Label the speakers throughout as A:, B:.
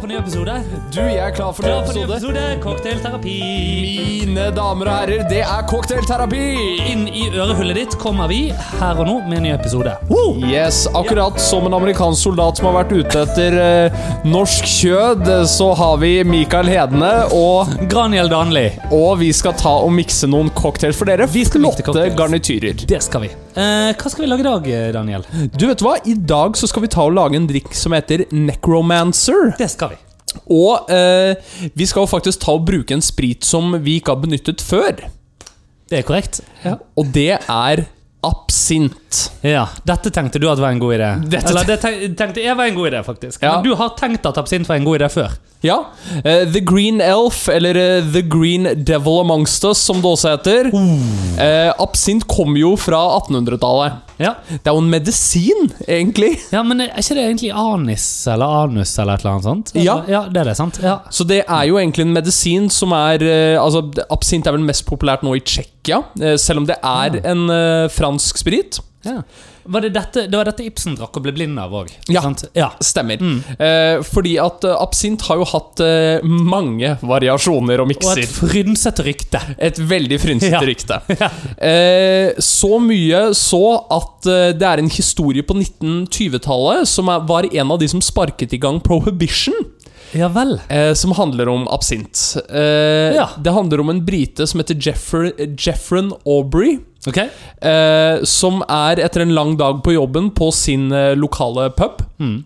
A: for ny episode.
B: Du, jeg er klar for
A: Klar
B: ny
A: for ny
B: episode.
A: episode Cocktailterapi.
B: Mine damer og herrer, det er cocktailterapi!
A: Inn i ørehullet ditt kommer vi her og nå med en ny episode. Woo!
B: Yes, akkurat som en amerikansk soldat som har vært ute etter eh, norsk kjød, eh, så har vi Mikael Hedene, og,
A: Graniel Danli.
B: og vi skal ta og mikse noen cocktails for dere.
A: Vi skal mikse
B: Flotte
A: cocktails.
B: garnityrer.
A: Det skal vi. Eh, hva skal vi lage i dag, eh, Daniel?
B: Du vet hva, i dag så skal vi ta og lage en drikk som heter Necromancer.
A: Det skal vi.
B: Og eh, vi skal jo faktisk ta og bruke en sprit som vi ikke har benyttet før.
A: Det er korrekt. Ja.
B: Og det er absint.
A: Dette tenkte du at var en god idé.
B: Dette-
A: Eller det ten- tenkte jeg var en god idé, faktisk.
B: Ja.
A: Men du har tenkt at absint var en god idé før.
B: Ja. eh, The Green Elf, eller eh, The Green Devil Amongst Us, som det også heter.
A: Uh.
B: Eh, absint kommer jo fra 1800-tallet.
A: Ja.
B: Det er jo en medisin, egentlig.
A: ja, men er ikke det egentlig anis eller anus eller et eller annet sånt?
B: Ja.
A: ja det er det, sant? Ja.
B: Så det er jo egentlig en medisin som er eh, Altså, absint er vel mest populært nå i Tsjekkia, eh, selv om det
A: Ah.
B: er en eh, fransk sprit.
A: Ja. Var det, dette, det var dette Ibsen drakk og ble blind av òg.
B: Ja.
A: ja.
B: Stemmer.
A: Mm.
B: Eh, fordi at eh, absint har jo hatt eh, mange variasjoner og
A: Og
B: mikser.
A: et frynsete rykte.
B: Et veldig frynsete
A: Ja.
B: rykte. Eh, så mye så at eh, det er en historie på 1920-tallet som er, var en av de som sparket i gang prohibition,
A: Ja vel.
B: eh, som handler om absint. Eh,
A: Ja.
B: Det handler om en brite som heter Jeffer, Jeffren Aubrey.
A: Ok.
B: Eh, som er etter en lang dag på jobben på sin eh, lokale pub.
A: Mm.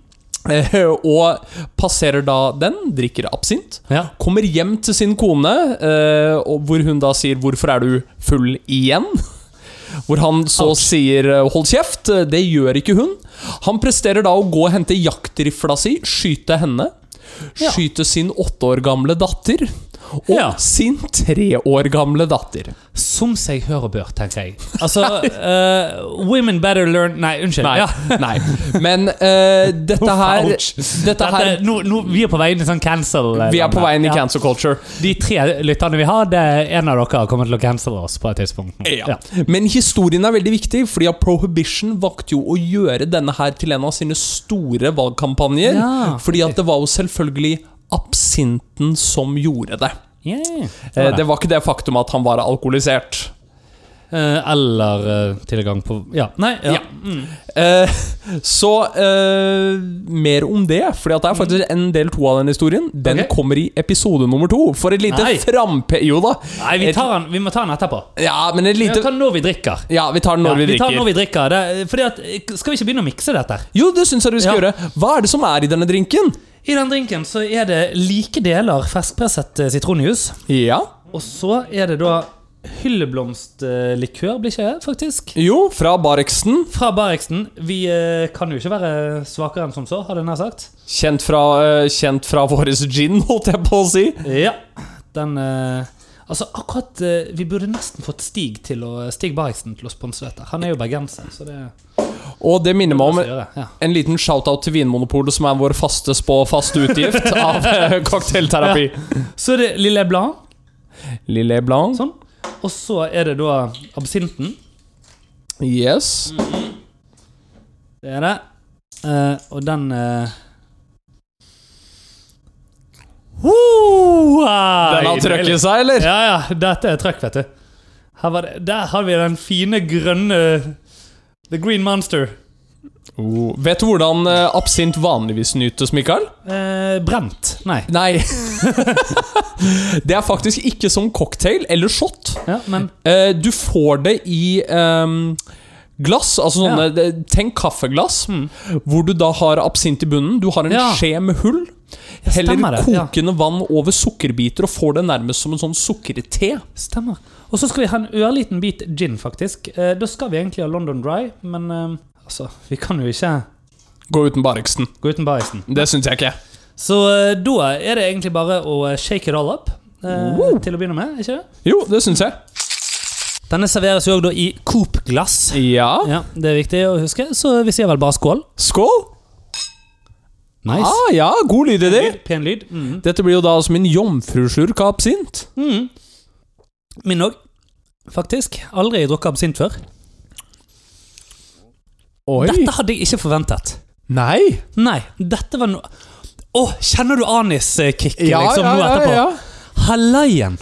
B: Eh, og passerer da den, drikker absint.
A: Ja.
B: Kommer hjem til sin kone, eh, og hvor hun da sier 'Hvorfor er du full igjen?' Hvor han så sier eh, 'hold kjeft', eh, det gjør ikke hun. Han presterer da å gå og hente jaktrifla si, skyte henne.
A: Ja.
B: Skyte sin åtte år gamle datter. Og
A: Ja.
B: sin tre år gamle datter.
A: Som seg hør og bør, tenker jeg. Altså eh, Women better learn Nei, unnskyld.
B: Nei.
A: Ja.
B: nei. Men eh, dette her
A: Ouch.
B: Dette her
A: Dette, nå, nå, vi er på vei inn i sånn cancel. eh,
B: Vi er på
A: landet.
B: vei inn i
A: Ja.
B: cancel culture.
A: De tre lytterne vi har, det er en av dere har kommet til å cancele oss på et tidspunkt. nå.
B: Ja. Men historien er veldig viktig, fordi at Prohibition valgte jo å gjøre denne her til en av sine store valgkampanjer.
A: Ja.
B: Fordi at det var jo selvfølgelig absinten som gjorde det.
A: Yeah. Det
B: Eh,
A: var det.
B: Det var ikke det faktum at han var alkoholisert.
A: Eh, eller eh, tilgang på Ja. Nei. Ja.
B: Ja. Eh, Så eh, mer om det, Fordi at det er faktisk en del to av den historien. Den
A: Ok.
B: kommer i episode nummer to. For et lite
A: Nei.
B: frampe... Jo da.
A: Nei, vi, tar den, vi må ta den etterpå.
B: Ja, men et
A: Vi
B: lite
A: tar den når vi drikker.
B: Ja, vi tar den når
A: Ja,
B: vi drikker.
A: tar når vi drikker. Det, fordi at, eh, skal vi ikke begynne å mikse dette? her?
B: Jo, det syns jeg du skal
A: Ja.
B: gjøre. Hva er det som er i denne drinken?
A: I den drinken så er det like deler ferskpresset eh, sitronjuice.
B: Ja.
A: Og så er det da hylleblomstlikør, blir ikke det, faktisk?
B: Jo, fra Barexen.
A: Fra Barriksen. Vi eh, kan jo ikke være svakere enn som så, hadde jeg nær sagt.
B: Kjent fra, eh, kjent fra våres gin, holdt jeg på å si.
A: Ja. Den eh, Altså, akkurat eh, Vi burde nesten fått Stig til å, Stig Barriksen til å sponse dette. Han er jo bergenser, så det
B: Og det minner meg om
A: må vi gjøre. Ja.
B: en liten shout-out til Vinmonopolet, som er vår faste spå faste utgift av eh, cocktailterapi.
A: Så er det Lille Blanc.
B: Lille Blanc.
A: Sånn. Og så er det da absinten.
B: Yes.
A: Det er det. Eh, og den uh...
B: Den har trøkket seg, eller?
A: Ja, ja. Dette er trøkk, vet du. Her var det, der har vi den fine, grønne The Green Monster.
B: Oh. Vet du hvordan eh, absint vanligvis nytes, Mikael?
A: Eh, brent. Nei.
B: Nei. det er faktisk ikke som cocktail eller shot.
A: Ja, men
B: Eh, du får det i ehm, glass, altså sånne det- Tenk kaffeglass, hvor du da har absint i bunnen. Du har en
A: Mm. Ja.
B: skje med hull. Heller
A: stemmer det, ja.
B: kokende vann over sukkerbiter og får det nærmest som en sånn sukkerte.
A: stemmer. Og så skal vi ha en ørliten bit gin, faktisk. Eh, da skal vi egentlig ha London Dry, men eh, altså Vi kan jo ikke
B: Gå uten Barriksen.
A: gå uten barisen.
B: Det syns jeg ikke.
A: Så eh, da er det egentlig bare å shake it all up. eh, Til å begynne med, ikke det?
B: Jo, det syns jeg.
A: Denne serveres jo òg da i Coop-glass.
B: Ja.
A: Ja, Det er viktig å huske, så vi sier vel bare skål.
B: Skål!
A: Nice.
B: Ah, ja, god lyd i det.
A: Pen lyd. Mm.
B: Dette blir jo da som en jomfruslurk av absint.
A: Min òg, faktisk. Aldri drukket absint før.
B: Oi.
A: Dette hadde jeg ikke forventet.
B: Nei!
A: Nei, dette var noe Å, kjenner du aniskicket
B: Ja,
A: liksom,
B: ja,
A: nå
B: ja,
A: etterpå?
B: ja.
A: Hallaien!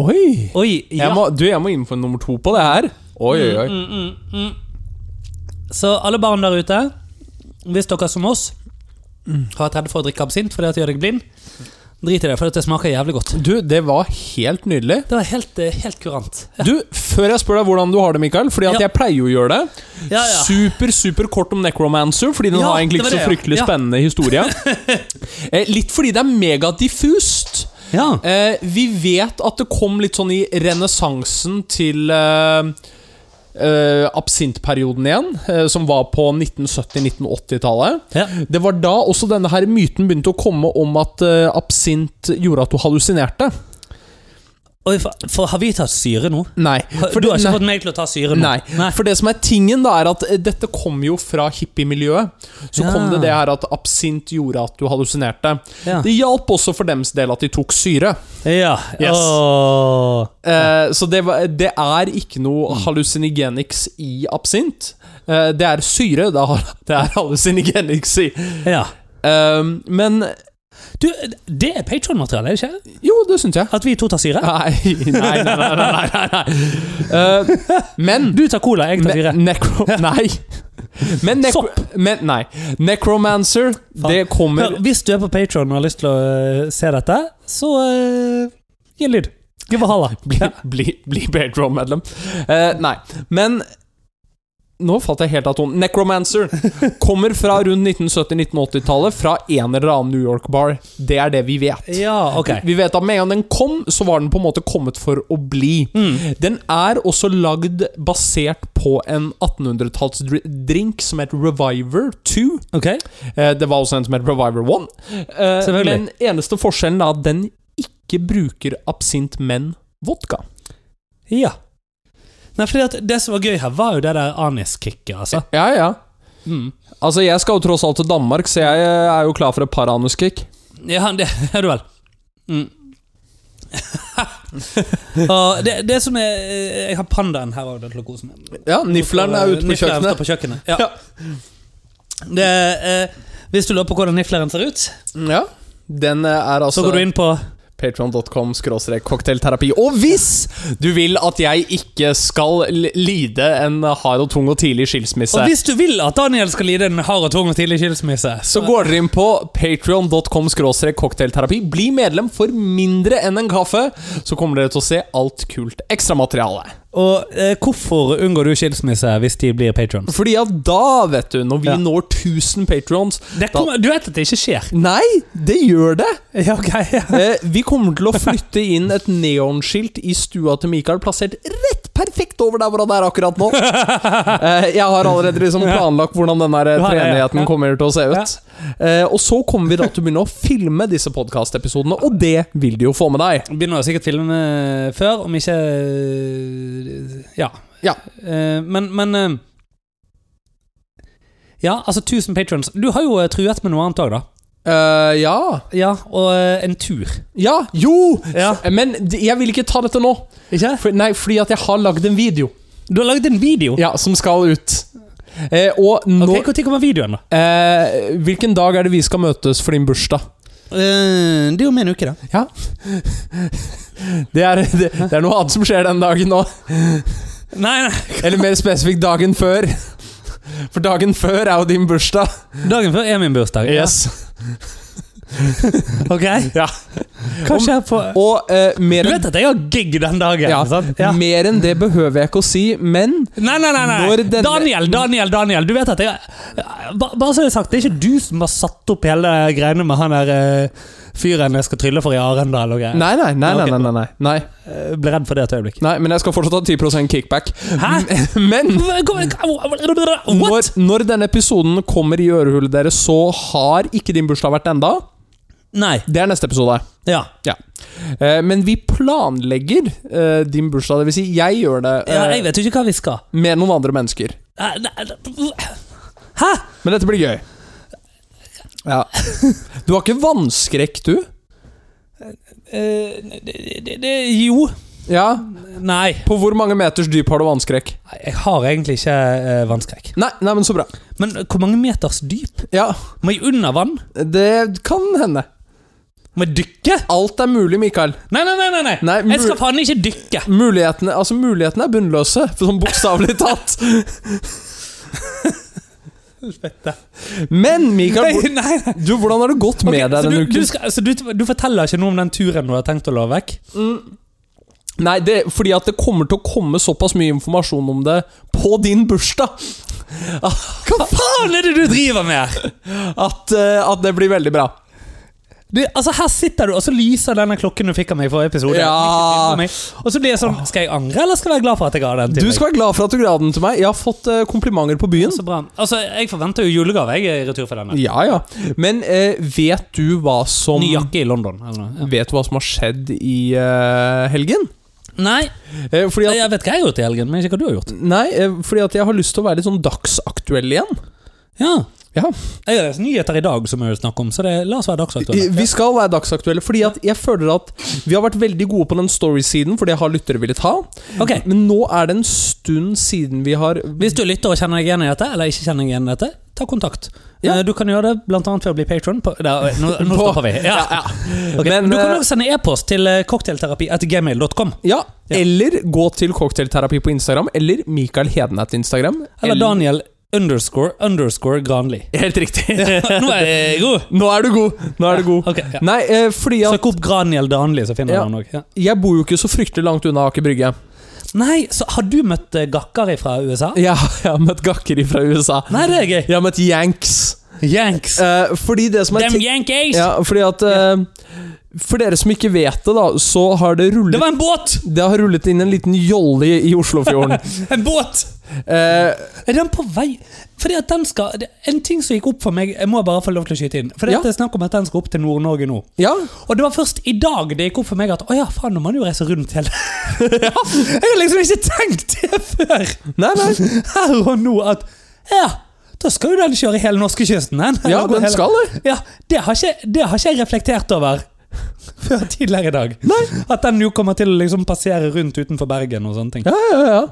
B: Oi!
A: Oi, ja.
B: Jeg må, du, jeg må inn for nummer to på det her. Oi, oi, oi.
A: Mm, mm, mm. Så alle barn der ute, hvis dere som oss har vært redde for å drikke absint fordi at det gjør deg blind, drit i det, for det smaker jævlig godt.
B: Du, det var helt nydelig.
A: Det var helt, eh, helt kurant.
B: Du, Før jeg spør deg hvordan du har det, Mikael Fordi at
A: Ja.
B: jeg pleier jo å gjøre det.
A: Ja, ja.
B: Super super kort om Necromancer, fordi den
A: Ja,
B: har egentlig
A: det
B: ikke
A: var
B: så
A: det, ja.
B: fryktelig
A: Ja.
B: spennende historie. Eh, litt fordi det er megadiffust.
A: Ja.
B: Eh, vi vet at det kom litt sånn i renessansen til eh, eh, absintperioden igjen, eh, som var på 1970-1980-tallet.
A: Ja.
B: Det var da også denne her myten begynte å komme om at eh, absint gjorde at du hallusinerte.
A: Oi, for, for har vi tatt syre nå?
B: Nei.
A: Har,
B: for
A: du har
B: det-
A: ikke
B: nei.
A: fått meg til å ta syre nå?
B: Nei. for det som er tingen da er at eh, dette kom jo fra hippiemiljøet. Så
A: Ja.
B: kom det det her at absint gjorde at du hallusinerte.
A: Ja.
B: Det hjalp også for dems del at de tok syre.
A: Ja.
B: Yes.
A: Åh.
B: Eh, så det, var, det er ikke noe
A: Mm.
B: hallucinogenics i absint. Eh, det er syre, det er, det er hallucinogenics i.
A: ja.
B: Eh, men
A: Du, det er Patron-materiale, er det ikke?
B: jo, det syns jeg.
A: At vi to tar syre?
B: Nei, nei, nei. nei, nei, nei, nei. Eh, men
A: Du tar cola, jeg tar
B: Ne-
A: syre.
B: Necro... Nei. Men, necro men Nei. Necromancer, det kommer
A: Hør, hvis du er på Patron og har lyst til å eh, se dette, så eh, gi en lyd. Gi meg halla.
B: Bli, bli, bli Bedroom-medlem. Eh, nei. Men Nå falt jeg helt av tonen. Necromancer kommer fra rundt 1970-1980-tallet fra en eller annen New York-bar. Det er det vi vet.
A: Ja, ok.
B: Vi vet at med en gang den kom, så var den på en måte kommet for å bli.
A: Mm.
B: Den er også lagd basert på en 1800-tallsdrink som het Reviver 2.
A: Ok.
B: Eh, Det var også en som het Reviver One. Eh,
A: Selvfølgelig.
B: Men eneste forskjellen er at den ikke bruker absint, men vodka.
A: Ja. Nei, fordi at det som var gøy her, var jo det der aniskicket, altså.
B: Ja, ja.
A: Mm.
B: Altså, jeg skal jo tross alt til Danmark, så jeg eh, er jo klar for et par anuskick.
A: Ja, det er du vel. Mm. og det, det som er eh, Jeg har pandaen her òg, til å kose meg.
B: Ja, nifleren er ute på
A: Nifleren står
B: kjøkkenet.
A: på kjøkkenet. Ja. Det, eh, hvis du lurer på hvordan nifleren ser ut,
B: Ja. Den eh, er
A: så
B: altså
A: går du inn på
B: patreon.com skråstrek cocktailterapi. Og hvis du vil at jeg ikke skal l- lide en hard og tung og tidlig skilsmisse
A: Og hvis du vil at Daniel skal lide en hard og tung og tidlig skilsmisse
B: Så går dere inn på patreon.com cocktailterapi. Bli medlem for mindre enn en kaffe, så kommer dere til å se alt kult ekstramateriale.
A: Og eh, hvorfor unngår du skilsmisse hvis de blir patrons?
B: Fordi at da, vet du, når vi
A: Ja.
B: når 1000 patrons
A: Det kommer, du vet at det ikke skjer?
B: Nei, det gjør det!
A: Ja, ok.
B: Eh, vi kommer til å flytte inn et neonskilt i stua til Mikael, plassert rett perfekt over der hvor han er akkurat nå. Eh, jeg har allerede liksom planlagt hvordan den der
A: Du har det,
B: eh,
A: ja.
B: treenigheten kommer til å se ut. Eh, og så kommer vi da til å begynne å filme disse podkastepisodene, og det vil de jo få med deg.
A: Begynner sikkert filmene før, om ikke eh, Ja.
B: Ja.
A: Eh, men men eh, Ja, altså 1000 patrons. Du har jo eh, truet med noe annet òg, da.
B: Eh, ja.
A: Ja, Og eh, en tur.
B: Ja, jo! Eh,
A: Ja.
B: Men d- jeg vil ikke ta dette nå.
A: Ikke?
B: For, nei, fordi at jeg har lagd en video
A: Du har lagd en video.
B: Ja, som skal ut. Eh, og nå
A: Ok, Når kommer videoen, da?
B: eh, Hvilken dag er det vi skal møtes for din bursdag?
A: Eh, det er jo om en uke, da.
B: Det er, det, det er noe annet som skjer den dagen nå.
A: Nei, nei.
B: Eller mer spesifikt dagen før. For dagen før er jo din bursdag.
A: Dagen før er min bursdag. Ja. Ok?
B: Ja.
A: Hva skjer på
B: Og eh, mer,
A: Du
B: enn,
A: vet at jeg har gig den dagen.
B: ja,
A: sant? Ja.
B: mer enn det behøver jeg ikke å si, men
A: Nei, nei, nei, nei.
B: Når denne-
A: Daniel, Daniel, Daniel. Du vet at jeg ba, Bare så det er sagt, det er ikke du som har satt opp hele greiene med han der eh, fyren jeg skal trylle for i Arendal og greier.
B: Nei, nei, nei. nei,
A: Ok.
B: nei, nei, nei, nei.
A: Eh, Ble redd for det et øyeblikk.
B: nei Men jeg skal fortsatt ha 10 kickback.
A: Hæ?
B: Men
A: What?
B: når, når denne episoden kommer i ørehullet deres, så har ikke din bursdag vært enda.
A: Nei.
B: Det er neste episode.
A: Ja.
B: Eh, men vi planlegger eh, din bursdag. Det vil si, jeg gjør det eh,
A: ja. Jeg vet jo ikke hva vi skal.
B: med noen andre mennesker.
A: Eh, nei, nei, Hæ?
B: Men dette blir gøy. Ja. Du har ikke vannskrekk, du?
A: Eh, det, det, det, jo.
B: Ja,
A: Nei,
B: På hvor mange meters dyp har du vannskrekk?
A: jeg har egentlig ikke eh, vannskrekk.
B: Nei, nei, men så bra.
A: Men hvor mange meters dyp?
B: Ja,
A: Må jeg under vann?
B: det kan hende.
A: Må jeg dykke?
B: Alt er mulig, Mikael.
A: Nei, nei, nei! nei, nei.
B: Nei, mul-
A: Jeg skal faen ikke dykke!
B: Mulighetene, altså, mulighetene er bunnløse, for sånn bokstavelig talt. Men Mikael, hvor-
A: nei, nei.
B: du, hvordan har det gått med
A: Ok,
B: deg
A: så
B: denne
A: du,
B: uken?
A: du, skal, så du, du forteller ikke noe om den turen du har tenkt å la vekk?
B: Nei, det, fordi at det kommer til å komme såpass mye informasjon om det på din bursdag
A: Hva faen er det du driver med her?!
B: at, eh, at det blir veldig bra.
A: Du, altså Her sitter du, og så lyser denne klokken du fikk av meg i forrige episode.
B: Ja.
A: Meg. Og så blir jeg sånn Skal jeg angre, eller skal jeg være glad for at jeg ga den til
B: Du skal være glad for at du ga den til meg. Jeg har fått eh, komplimenter på byen.
A: meg? Så bra. Altså, Jeg forventer jo julegave jeg i retur for denne.
B: Ja, ja. Men eh, vet du hva som
A: Ny jakke i London. eller noe.
B: Vet du hva som har skjedd i eh, helgen?
A: Ja. Nei,
B: Eh, fordi at
A: jeg vet hva jeg har gjort i helgen, men ikke hva du har gjort.
B: Nei, eh, fordi at jeg har lyst til å være litt sånn dagsaktuell igjen.
A: Ja,
B: Ja.
A: Jeg har lest nyheter i dag, som jeg vil snakke om, så det, la oss være dagsaktuelle.
B: Vi skal være dagsaktuelle, fordi at jeg føler at vi har vært veldig gode på den story-siden, for det har lyttere villet ha.
A: Ok,
B: Men nå er det en stund siden vi har
A: Hvis du lytter og kjenner deg igjen i dette, eller ikke kjenner deg igjen i dette, ta kontakt.
B: Ja.
A: Eh, Du kan gjøre det blant annet ved å bli patron. På, der, nå, nå
B: På-
A: stopper vi. Ja. Ok,
B: Men,
A: du kan
B: eh,
A: også sende e-post til eh, cocktailterapi.gmail.com.
B: Ja,
A: Ja.
B: eller gå til cocktailterapi på Instagram, eller Mikael Hedenet Instagram.
A: Eller Daniel underscore underscore Granli.
B: Helt riktig.
A: Nå er jeg god!
B: Nå er du god! Nå er du god.
A: Ok, ja.
B: Nei, eh, fordi at
A: Søk opp Graniel Danli, så finner du
B: Ja.
A: han òg. Ja.
B: jeg bor jo ikke så fryktelig langt unna Aker Brygge.
A: Nei, så har du møtt eh, gakkere fra USA?
B: Ja, jeg har møtt gakker fra USA.
A: Nei, det er gøy.
B: Jeg har møtt yanks.
A: Yanks.
B: Eh, fordi det som er
A: Dem Yankees!
B: Ja, fordi at eh, For dere som ikke vet det, da, så har det
A: Det
B: rullet
A: var en båt!
B: det har rullet inn en liten jolle i i Oslofjorden.
A: En båt!
B: Eh,
A: Er den på vei? Fordi at den skal det- En ting som gikk opp for meg Jeg må bare få lov til å skyte inn. For
B: Ja.
A: det er snakk om at den skal opp til Nord-Norge nå.
B: ja,
A: Og det var først i dag det gikk opp for meg at å ja, faen, nå må man jo reise rundt hele Jeg har liksom ikke tenkt det før
B: nei, nei.
A: her og nå at ja, da skal jo den kjøre hele norskekysten. Den.
B: Ja,
A: Eller gå
B: den
A: hele-
B: skal det.
A: Ja, det har, ikke, det har ikke jeg reflektert over før tidligere i dag.
B: Nei.
A: At den jo kommer til å liksom passere rundt utenfor Bergen og sånne ting.
B: Ja, ja, ja.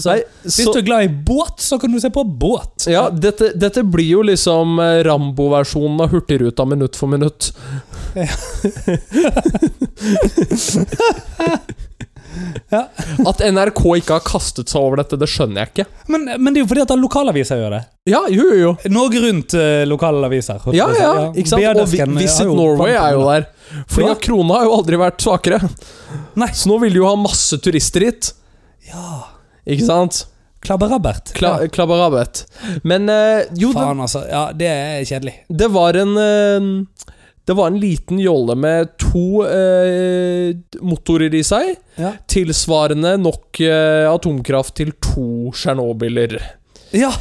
A: Så,
B: Nei,
A: hvis
B: så-
A: du er glad i båt, så kan du se på båt.
B: ja dette, dette blir jo liksom eh, Rambo-versjonen av Hurtigruta minutt for minutt.
A: Ja.
B: At NRK ikke har kastet seg over dette, det skjønner jeg ikke.
A: Men, men det er jo fordi at lokalaviser gjør det.
B: Ja, jo, jo, jo.
A: Norge rundt eh, lokalaviser. holdt jeg på
B: Ja,
A: å si.
B: ja, ikke sant? Og Vi-
A: Beardesken
B: Visit
A: har jo
B: Norway
A: banken.
B: er jo der. Fordi
A: Ja.
B: at krona har jo aldri vært svakere.
A: Nei.
B: Så nå vil de jo ha masse turister hit.
A: Ja.
B: Ikke sant?
A: Klabberabert.
B: Kla Klabberabet. Men eh, jo,
A: ja.
B: det,
A: Faen, altså. Ja, det er kjedelig.
B: det var en eh, Det var en liten jolle med to eh, motorer i seg.
A: Ja.
B: Tilsvarende nok eh, atomkraft til to Tsjernobyler.
A: ja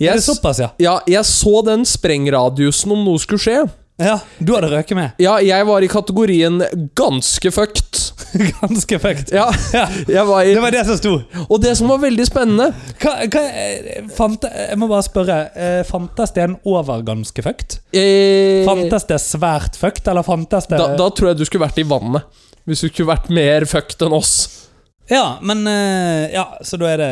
B: Jeg
A: Er det
B: s-
A: såpass, ja?
B: Ja, jeg så den sprengradiusen om noe skulle skje.
A: ja. Du hadde røket med.
B: Ja, jeg var i kategorien ganske fucked.
A: Ganske fucked.
B: Ja,
A: Ja.
B: jeg var i
A: Det var det som sto.
B: Og det som var veldig spennende
A: Hva, hva, eh, fant, jeg må bare spørre. eh, Fantes det en over ganske fucked?
B: eh,
A: Fantes det svært fucked, eller fantes det
B: da, da tror jeg du skulle vært i vannet. Hvis du skulle vært mer fucked enn oss.
A: Ja, men eh, Ja, så da er det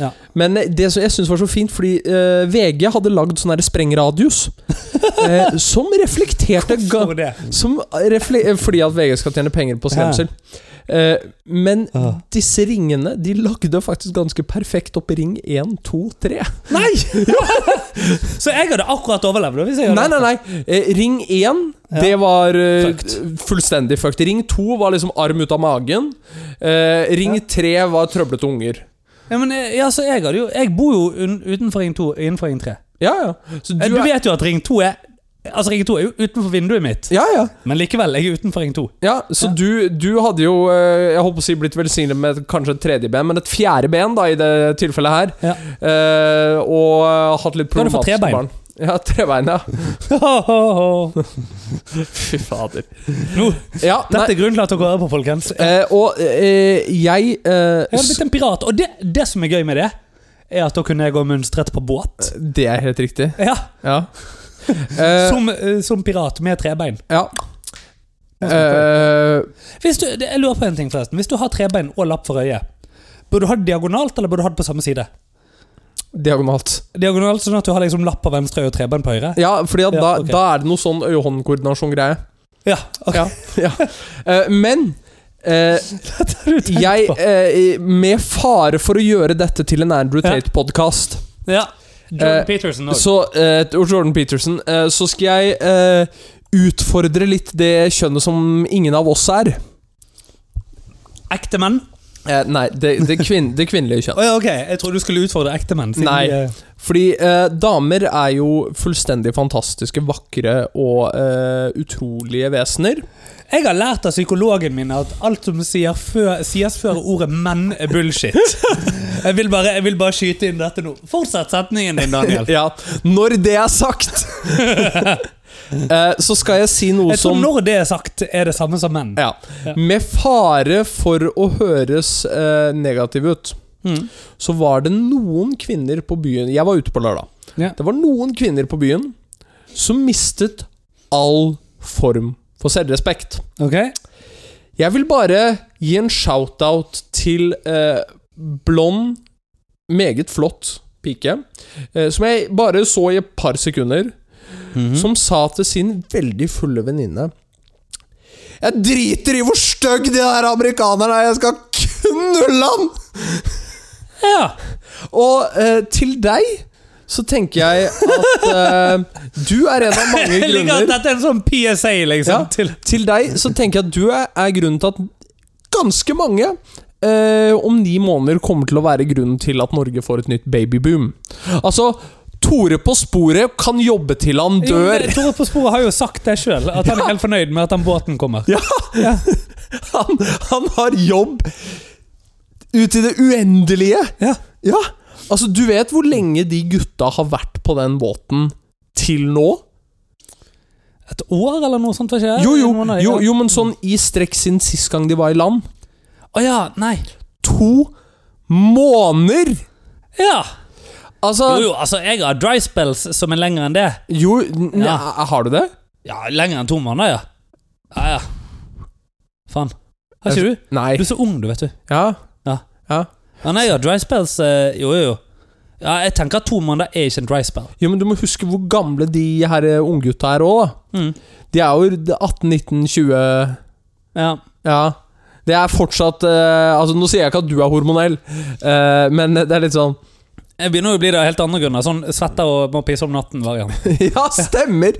B: Ja. Men eh, det som jeg syns var så fint, fordi eh, VG hadde lagd sånn her sprengradius eh, som reflekterte ga
A: Hvorfor det?
B: som refle eh, Fordi at VG skal tjene penger på skremsel. Eh, men
A: Ja.
B: disse ringene de lagde faktisk ganske perfekt opp ring 1, 2, 3.
A: Nei! så jeg hadde akkurat overlevd? da, Hvis jeg hadde
B: Nei, nei, nei. Eh, ring 1,
A: Ja.
B: det var eh,
A: Fucked.
B: fullstendig fucked. Ring 2 var liksom arm ut av magen. Eh, ring
A: Ja.
B: 3 var trøblete unger.
A: Ja, men, eh, ja, så jeg, hadde jo, jeg bor jo un utenfor Ring 2 innenfor Ring 3.
B: Ja, ja. Så
A: Eh, Du,
B: du,
A: du
B: er,
A: vet jo at Ring 2 er Altså, Ring 2 er jo utenfor vinduet mitt,
B: ja, ja.
A: men likevel, jeg er utenfor Ring 2.
B: ja så
A: Ja.
B: Du, du hadde jo eh, Jeg holdt på å si blitt velsignet med kanskje et tredje ben, men et fjerde ben da i det tilfellet her.
A: Ja.
B: Eh, og eh, hatt litt
A: Da hadde du fått tre
B: problematiske
A: bein.
B: barn. Ja, trebein, ja.
A: Nå,
B: Fy fader. Ja,
A: dette
B: nei,
A: er grunnen til at dere hører på, folkens. Jeg
B: eh, og eh, jeg eh,
A: hadde blitt en pirat, og det, det som er gøy med det, er at da kunne jeg gå mønstret på båt.
B: s- Det er helt riktig.
A: Ja,
B: Ja. Eh,
A: Som, eh, som pirat med trebein.
B: Ja. Eh,
A: Hvis du, det- jeg lurer på en ting forresten. Hvis du har trebein og lapp for øyet, burde du ha det diagonalt, eller burde du ha det på samme side?
B: diagonalt.
A: Diagonalt sånn at du har liksom lapp på venstre øye og trebein på høyre?
B: Ja, fordi at
A: Ja,
B: da,
A: ok.
B: da er det noe sånn øye-hånd-koordinasjon-greie.
A: Ja, ok.
B: Ja, ja. Eh, men eh, jeg, eh, med fare for å gjøre dette til en Andrew
A: Ja.
B: Tate-podkast
A: Ja. Jordan
B: Eh,
A: Peterson også.
B: Så, eh, og Jordan Peterson, eh, så skal jeg eh, utfordre litt det kjønnet som ingen av oss er.
A: Ekte menn?
B: Eh, nei, det, det, kvinn, det kvinnelige kjønn.
A: Å ja, ok. Jeg trodde du skulle utfordre ekte menn. siden
B: Nei.
A: de, eh,
B: Fordi eh, damer er jo fullstendig fantastiske, vakre og eh, utrolige vesener.
A: Jeg har lært av psykologen min at alt som sier før, sies før ordet 'menn', er bullshit. Jeg vil, bare, jeg vil bare skyte inn dette nå. Fortsett setningen din, Daniel.
B: Ja, Når det er sagt, eh, så skal jeg si noe
A: Jeg tror
B: som
A: når det er sagt, er det samme som menn.
B: ja.
A: Ja.
B: Med fare for å høres eh, negativ ut,
A: Mm.
B: så var det noen kvinner på byen Jeg var ute på lørdag.
A: Ja.
B: Det var noen kvinner på byen som mistet all form for selvrespekt.
A: Ok?
B: Jeg vil bare gi en shout-out til eh, blond, meget flott pike, eh, som jeg bare så i et par sekunder,
A: Mhm.
B: som sa til sin veldig fulle venninne Jeg driter i hvor stygg de der amerikanerne er, jeg skal knulle han!
A: Ja.
B: Og eh, til deg så tenker jeg at eh, du er en av mange
A: Jeg liker at
B: grunner
A: dette er en sånn PSA, liksom.
B: Ja.
A: Til.
B: Til deg så tenker jeg at du er, er grunnen til at ganske mange eh, om ni måneder kommer til å være grunnen til at Norge får et nytt babyboom. Altså, Tore på sporet kan jobbe til han
A: Jo, men
B: dør.
A: Tore på sporet har jo sagt det sjøl, at han er helt fornøyd med at den båten kommer.
B: Ja. Han, han har jobb ut i det uendelige.
A: Ja.
B: Ja, altså du vet hvor lenge de gutta har vært på den båten til nå?
A: Et år eller noe sånt? var ikke det?
B: Jo, jo,
A: Noen av de-
B: jo, jo men sånn i strekk siden sist gang de var i land.
A: Å ja, nei.
B: To måneder!
A: Ja.
B: Altså
A: Jo, jo, altså, jeg har dry spells som er lengre enn det.
B: Jo, n-
A: Ja.
B: n- har du det?
A: Ja, lenger enn to måneder, ja. Ja, ja. Faen. Har ikke du?
B: Nei.
A: Du er så ung, du, vet du.
B: Ja.
A: Ja.
B: ja.
A: Ja, nei, ja, dry spells eh, Jo, jo, jo. Ja, jeg tenker at to måneder er ikke en dry spell.
B: Jo, men du må huske hvor gamle de her eh, unggutta er òg, da.
A: Mm.
B: De er jo 18, 19, 20
A: Ja.
B: Ja. Det er fortsatt eh, Altså, nå sier jeg ikke at du er hormonell, eh, men det er litt sånn
A: Jeg begynner jo å bli det av helt andre grunner. Sånn svetter og må pisse om natten-variant.
B: Ja, stemmer!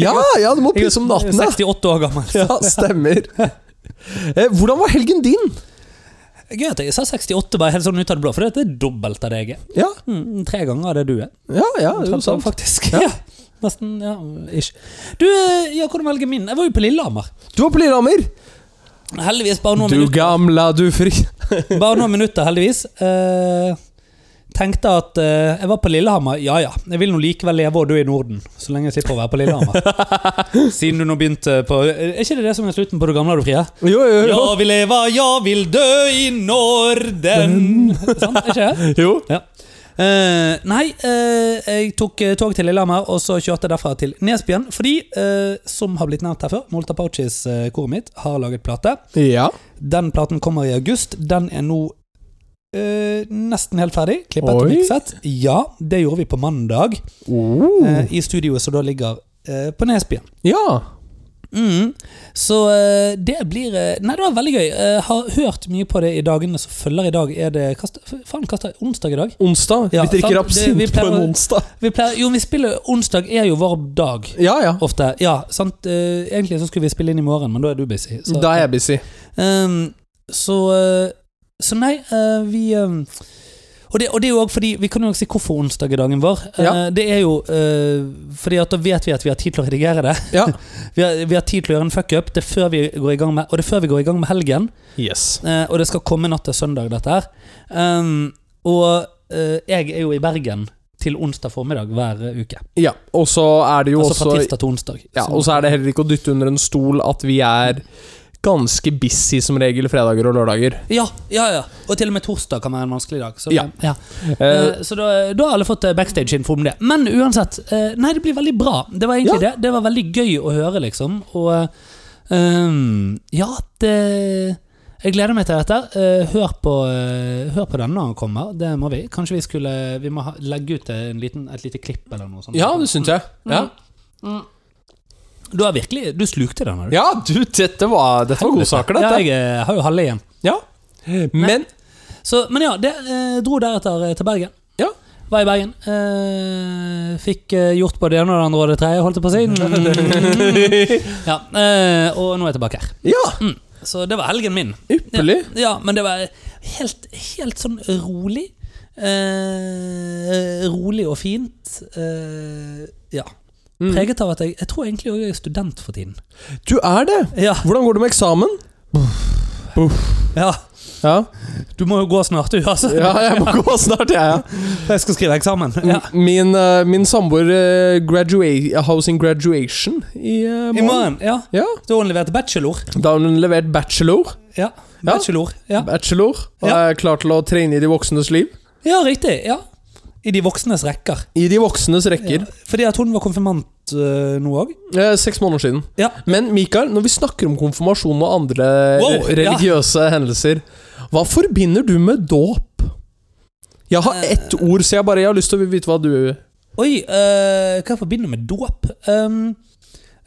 B: Ja, ja, du må pisse om natten, da.
A: 68 år gammel. så-
B: Ja, stemmer. Eh, Hvordan var helgen din?
A: Gøy at jeg sa 68 bare helt sånn ut av det blå, for det er dobbelt av det jeg er.
B: Ja,
A: Mm, tre ganger av det du er.
B: ja, ja det er jo
A: Omtrent sånn,
B: sant.
A: Faktisk. Ja. Nesten, ja, ish. Du, eh, ja, hvordan velger min? Jeg var jo på Lillehammer.
B: Du var på Lillehammer!
A: Heldigvis bare noen
B: Du
A: minutter.
B: gamla, du fri...
A: Bare noen minutter, heldigvis. Eh, tenkte at eh, jeg var på Lillehammer. Ja ja, jeg vil nå likevel leve og dø i Norden. Så lenge jeg slipper å være på Lillehammer. Siden du nå begynte på Er ikke det det som er slutten på Du gamle og du frie?
B: Jo, jo, jo.
A: Ja vil leve, ja vil dø i Norden. Sant, er ikke det?
B: jo.
A: Ja. Eh, nei, eh, jeg tok eh, tog til Lillehammer, og så kjørte jeg derfra til Nesbyen. Fordi, eh, som har blitt nevnt her før, Molta Pouches, eh, koret mitt, har laget plate.
B: Ja.
A: Den platen kommer i august. Den er nå eh, nesten helt ferdig. Klippet og
B: Oi.
A: mikset. Ja, det gjorde vi på mandag. eh, I studioet som da ligger eh, på Nesbyen.
B: Ja.
A: Mm. Så eh, det blir eh, Nei, det var veldig gøy. Eh, har hørt mye på det i dagene som følger. I dag er det hva st- Faen, hva er onsdag i dag?
B: Onsdag.
A: Ja,
B: vi
A: sant, det-
B: drikker
A: vi
B: absint på
A: pleier å-
B: en onsdag.
A: Vi pleier, jo, vi spiller Onsdag er jo vår dag.
B: Ja, ja.
A: Ofte. Ja, sant. Eh, egentlig så skulle vi spille inn i morgen, men da er du busy. Så,
B: Da er jeg busy.
A: Ehm, så, eh, så nei, eh, vi ehm, og det, og det er jo også fordi, Vi kan jo også si hvorfor onsdag er dagen vår. Eh,
B: Ja.
A: Det er jo eh, fordi at da vet vi at vi har tid til å redigere det.
B: Ja.
A: Vi har, vi har tid til å gjøre en fuck-up. Det er før vi går i gang med Og det er før vi går i gang med helgen.
B: Yes.
A: Eh, og det skal komme natt til søndag, dette her. Ehm, og eh, jeg er jo i Bergen til onsdag formiddag hver eh, uke.
B: Ja, og så er det jo
A: Altså fra
B: også
A: tirsdag til onsdag.
B: ja,
A: Så-
B: Og så er det heller ikke å dytte under en stol at vi er ganske busy som regel fredager og lørdager.
A: ja, ja, ja. Og til og med torsdag kan være en vanskelig dag. Så,
B: Ja.
A: ja.
B: Eh,
A: Eh, så da, da har alle fått eh, backstage-info om det. Men uansett, eh, nei, det blir veldig bra. Det var egentlig det. Det var veldig gøy å høre, liksom. Og eh, Ehm, ja, det Jeg gleder meg til dette. Eh, hør, på, eh, hør på den når han kommer. Det må vi. Kanskje vi skulle Vi må ha, legge ut en liten, et lite klipp eller noe sånt.
B: Ja, det syns jeg. Ja,
A: Du har virkelig Du slukte den, har du?
B: ja du, dette var, dette var godsaker,
A: Ja,
B: dette.
A: jeg eh, har jo halve igjen.
B: Ja. Men
A: Så, men ja, det eh, dro deretter eh, til Bergen.
B: Ja.
A: Var i Bergen. Eh, fikk eh, gjort både det ene og det andre og det tredje, holdt jeg på å si. Mm. ja, eh, og nå er jeg tilbake her.
B: Ja,
A: Så det var helgen min.
B: ypperlig.
A: Ja, men det var helt, helt sånn rolig. Eh, rolig og fint. Eh, ja.
B: Mm.
A: Preget av at jeg, jeg tror egentlig jeg er student for tiden.
B: Du er det.
A: Ja,
B: Hvordan går det med eksamen?
A: ja.
B: Ja,
A: Du må jo gå snart, du, altså.
B: ja jeg må gå snart, jeg. Ja.
A: Jeg skal skrive eksamen. Ja.
B: Min, eh, min samboer eh, gradua har jo sin graduation i eh,
A: I morgen. Ja.
B: Ja,
A: Da har hun levert bachelor.
B: Da har hun levert bachelor.
A: Ja. Bachelor. Ja.
B: Bachelor Og
A: Ja.
B: er klar til å trene i de voksnes liv.
A: ja, riktig. Ja. I de voksnes rekker.
B: I de voksnes
A: Ja.
B: rekker.
A: Fordi at hun var konfirmant eh, nå òg.
B: Eh, seks måneder siden.
A: Ja.
B: Men Mikael, når vi snakker om konfirmasjon og andre
A: Wow,
B: re- religiøse hendelser, hva forbinder du med dåp? Jeg har
A: Eh.
B: ett ord, så jeg bare jeg har lyst til å vite hva du
A: Oi, eh, hva forbinder med dåp? Um,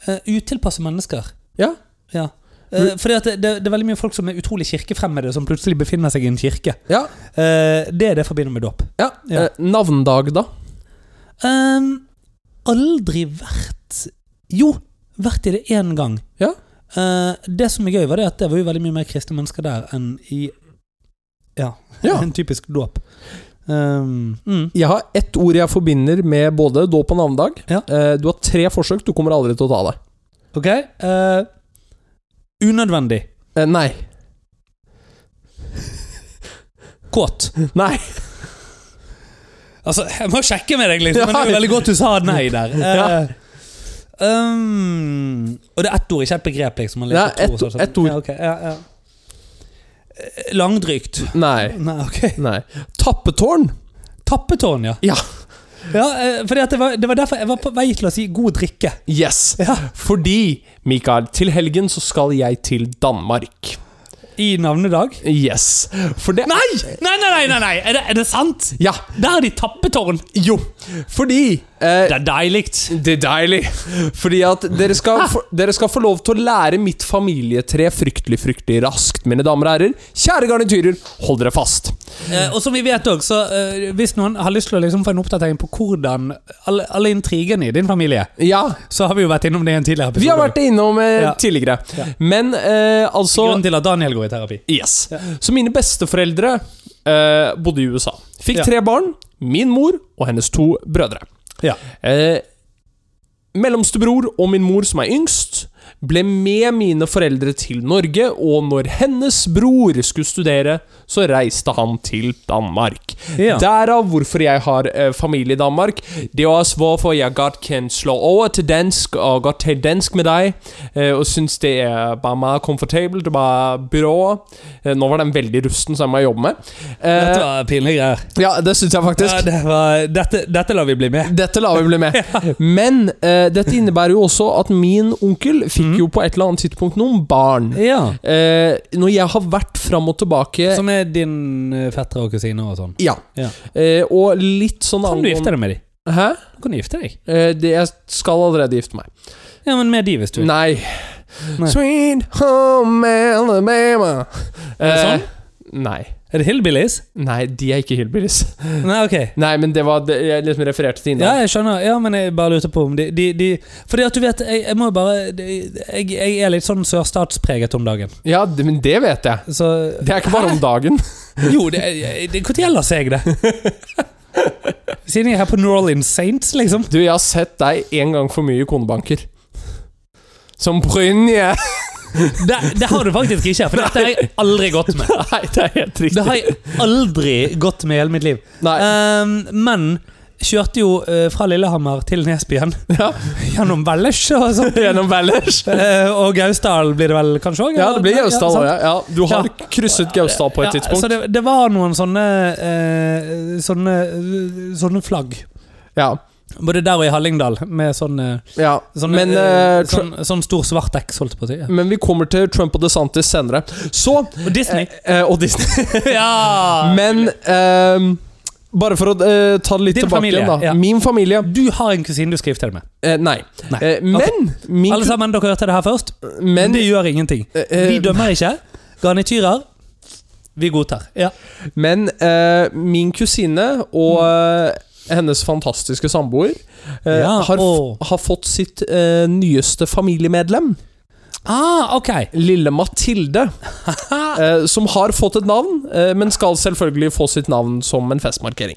A: eh, utilpasse mennesker.
B: Ja.
A: Ja. Eh, fordi at det, det, det er veldig mye folk som er utrolig kirkefremmede, som plutselig befinner seg i en kirke.
B: Ja.
A: Eh, det er det jeg forbinder med dåp.
B: ja.
A: Ja.
B: Eh, navndag, da?
A: Ehm, aldri vært Jo, vært i det én gang.
B: Ja.
A: Eh, det som er gøy, var det at det var jo veldig mye mer kristne mennesker der enn i Ja,
B: Ja.
A: en typisk dåp. Ehm, mm.
B: Jeg har ett ord jeg forbinder med både dåp og navnedag.
A: Ja.
B: Eh, Du har tre forsøk, du kommer aldri til å ta deg.
A: Ok. eh, unødvendig.
B: Eh, Nei.
A: Kåt.
B: Nei.
A: Altså, jeg må sjekke med deg, liksom. Men det er jo
B: Ja.
A: veldig godt du sa nei der. Eh,
B: Ja.
A: ehm, og det er ett ord, ikke et begrep, liksom. man
B: Ja,
A: leser to
B: ett-
A: og sånn.
B: ett ord.
A: Ja, ok, ja, ja. Eh, Langdrygt.
B: Nei.
A: Nei, ok.
B: Nei. Tappetårn?
A: Tappetårn, ja.
B: Ja.
A: Ja, eh, fordi at det, var, det var derfor jeg var på vei til å si god drikke.
B: Yes.
A: Ja.
B: Fordi, Mikael, til helgen så skal jeg til Danmark.
A: I navnedag.
B: Yes. For det Nei!
A: Nei, nei, nei! nei, nei. Er, det, er det sant?
B: Ja.
A: Der er de tappetårn!
B: Jo. Fordi eh,
A: Det er deilig.
B: Det er deilig. Fordi at dere skal, få, dere skal få lov til å lære mitt familietre fryktelig, fryktelig raskt, mine damer og herrer. Kjære garnityrer, hold dere fast.
A: Eh, og som vi vet òg, så eh, hvis noen har lyst til å liksom få en oppdatering på hvordan alle, alle intrigene i din familie
B: Ja.
A: Så har vi jo vært innom det i en tidligere episode.
B: Vi har vært innom eh,
A: Ja.
B: tidligere. Men eh, altså
A: Grunnen til at Daniel går i terapi.
B: Yes. Så mine besteforeldre eh, bodde i USA. Fikk
A: Ja.
B: tre barn. Min mor og hennes to brødre.
A: Ja.
B: Eh, mellomste bror og min mor, som er yngst, ble med mine foreldre til Norge, og når hennes bror skulle studere, så reiste han til Danmark.
A: Ja.
B: Derav hvorfor jeg har eh, familie i Danmark. Det er også hvorfor jeg godt kan slå over til dansk, og godt tale dansk med deg, eh, og syns det er bare meget komfortabelt, og bare bra. Eh, nå var den veldig rusten, så jeg må jobbe med. Eh,
A: Dette var pinlige greier.
B: ja, det syns jeg faktisk.
A: Ja, det var, dette, dette lar vi bli med.
B: Dette lar vi bli med. Men eh, dette innebærer jo også at min onkel fikk
A: Mhm.
B: jo på et eller annet tidspunkt noen barn.
A: Ja.
B: Eh, når jeg har vært fram og tilbake
A: Som er din eh, fettere og kusine og sånn.
B: Ja.
A: Ja.
B: Eh, og litt sånn
A: Kan du gifte deg med de?
B: Hæ?
A: Du kan gifte deg.
B: Eh, det, jeg skal allerede gifte meg.
A: Ja, men med de, hvis du vil.
B: Nei.
A: Nei.
B: Sweet home Alabama.
A: Er det
B: Eh,
A: sånn?
B: Nei.
A: Er det hillbillies?
B: Nei, de er ikke hillbillies.
A: Nei, ok.
B: Nei, men det var det, Jeg liksom refererte til
A: Ja,
B: innlandet.
A: jeg skjønner. Ja, men jeg bare lurte på om de, de, de Fordi at du vet, jeg, jeg må jo bare de- jeg, jeg er litt sånn sørstatspreget om dagen.
B: Ja, det, men det vet jeg.
A: Så
B: Det er ikke bare om dagen.
A: Jo, det, jeg- det, når gjelder seg det? Siden jeg er her på New Orleans Saints, liksom.
B: Du, jeg har sett deg en gang for mye i konebanker. Som Brynje!
A: Det, det har du faktisk ikke, for dette har jeg aldri gått med.
B: Nei, det er helt riktig.
A: Det har jeg aldri gått med i hele mitt liv.
B: Nei.
A: Ehm, men kjørte jo eh, fra Lillehammer til Nesbyen
B: Ja.
A: gjennom Vellesh og sånn.
B: Gjennom Valdres.
A: Eh, og Gausdal blir det vel kanskje òg?
B: Ja, det blir Gausdal òg, ja, ja. Du har
A: sånn- Ja.
B: krysset Gausdal på et
A: så
B: tidspunkt.
A: det, det var noen sånne eh, sånne, sånne flagg.
B: Ja.
A: Både der og i Hallingdal, med sånn, eh,
B: Ja,
A: sånn,
B: men,
A: eh,
B: eh, Mm. Tru-
A: sånn, sånn stor svart X, holdt jeg på å si. Ja.
B: men vi kommer til Trump og DeSantis senere. Så
A: Og Disney.
B: eh, Og Disney.
A: ja!
B: Men ehm, bare for å eh, ta det litt
A: Din
B: tilbake
A: familie,
B: igjen, da.
A: ja.
B: Min familie
A: Du har en kusine du skal gifte deg med.
B: eh, Nei.
A: Nei.
B: Eh, men min
A: Alle sammen, dere hørte det her først.
B: men
A: det gjør ingenting.
B: eh,
A: Vi dømmer ikke. Garnityrer vi godtar. Ja.
B: Men eh, min kusine og eh, hennes fantastiske samboer eh,
A: Ja,
B: har, f-
A: og-
B: har fått sitt eh, nyeste familiemedlem.
A: Ah, ok.
B: Lille Mathilde. eh, som har fått et navn, eh, men skal selvfølgelig få sitt navn som en festmarkering.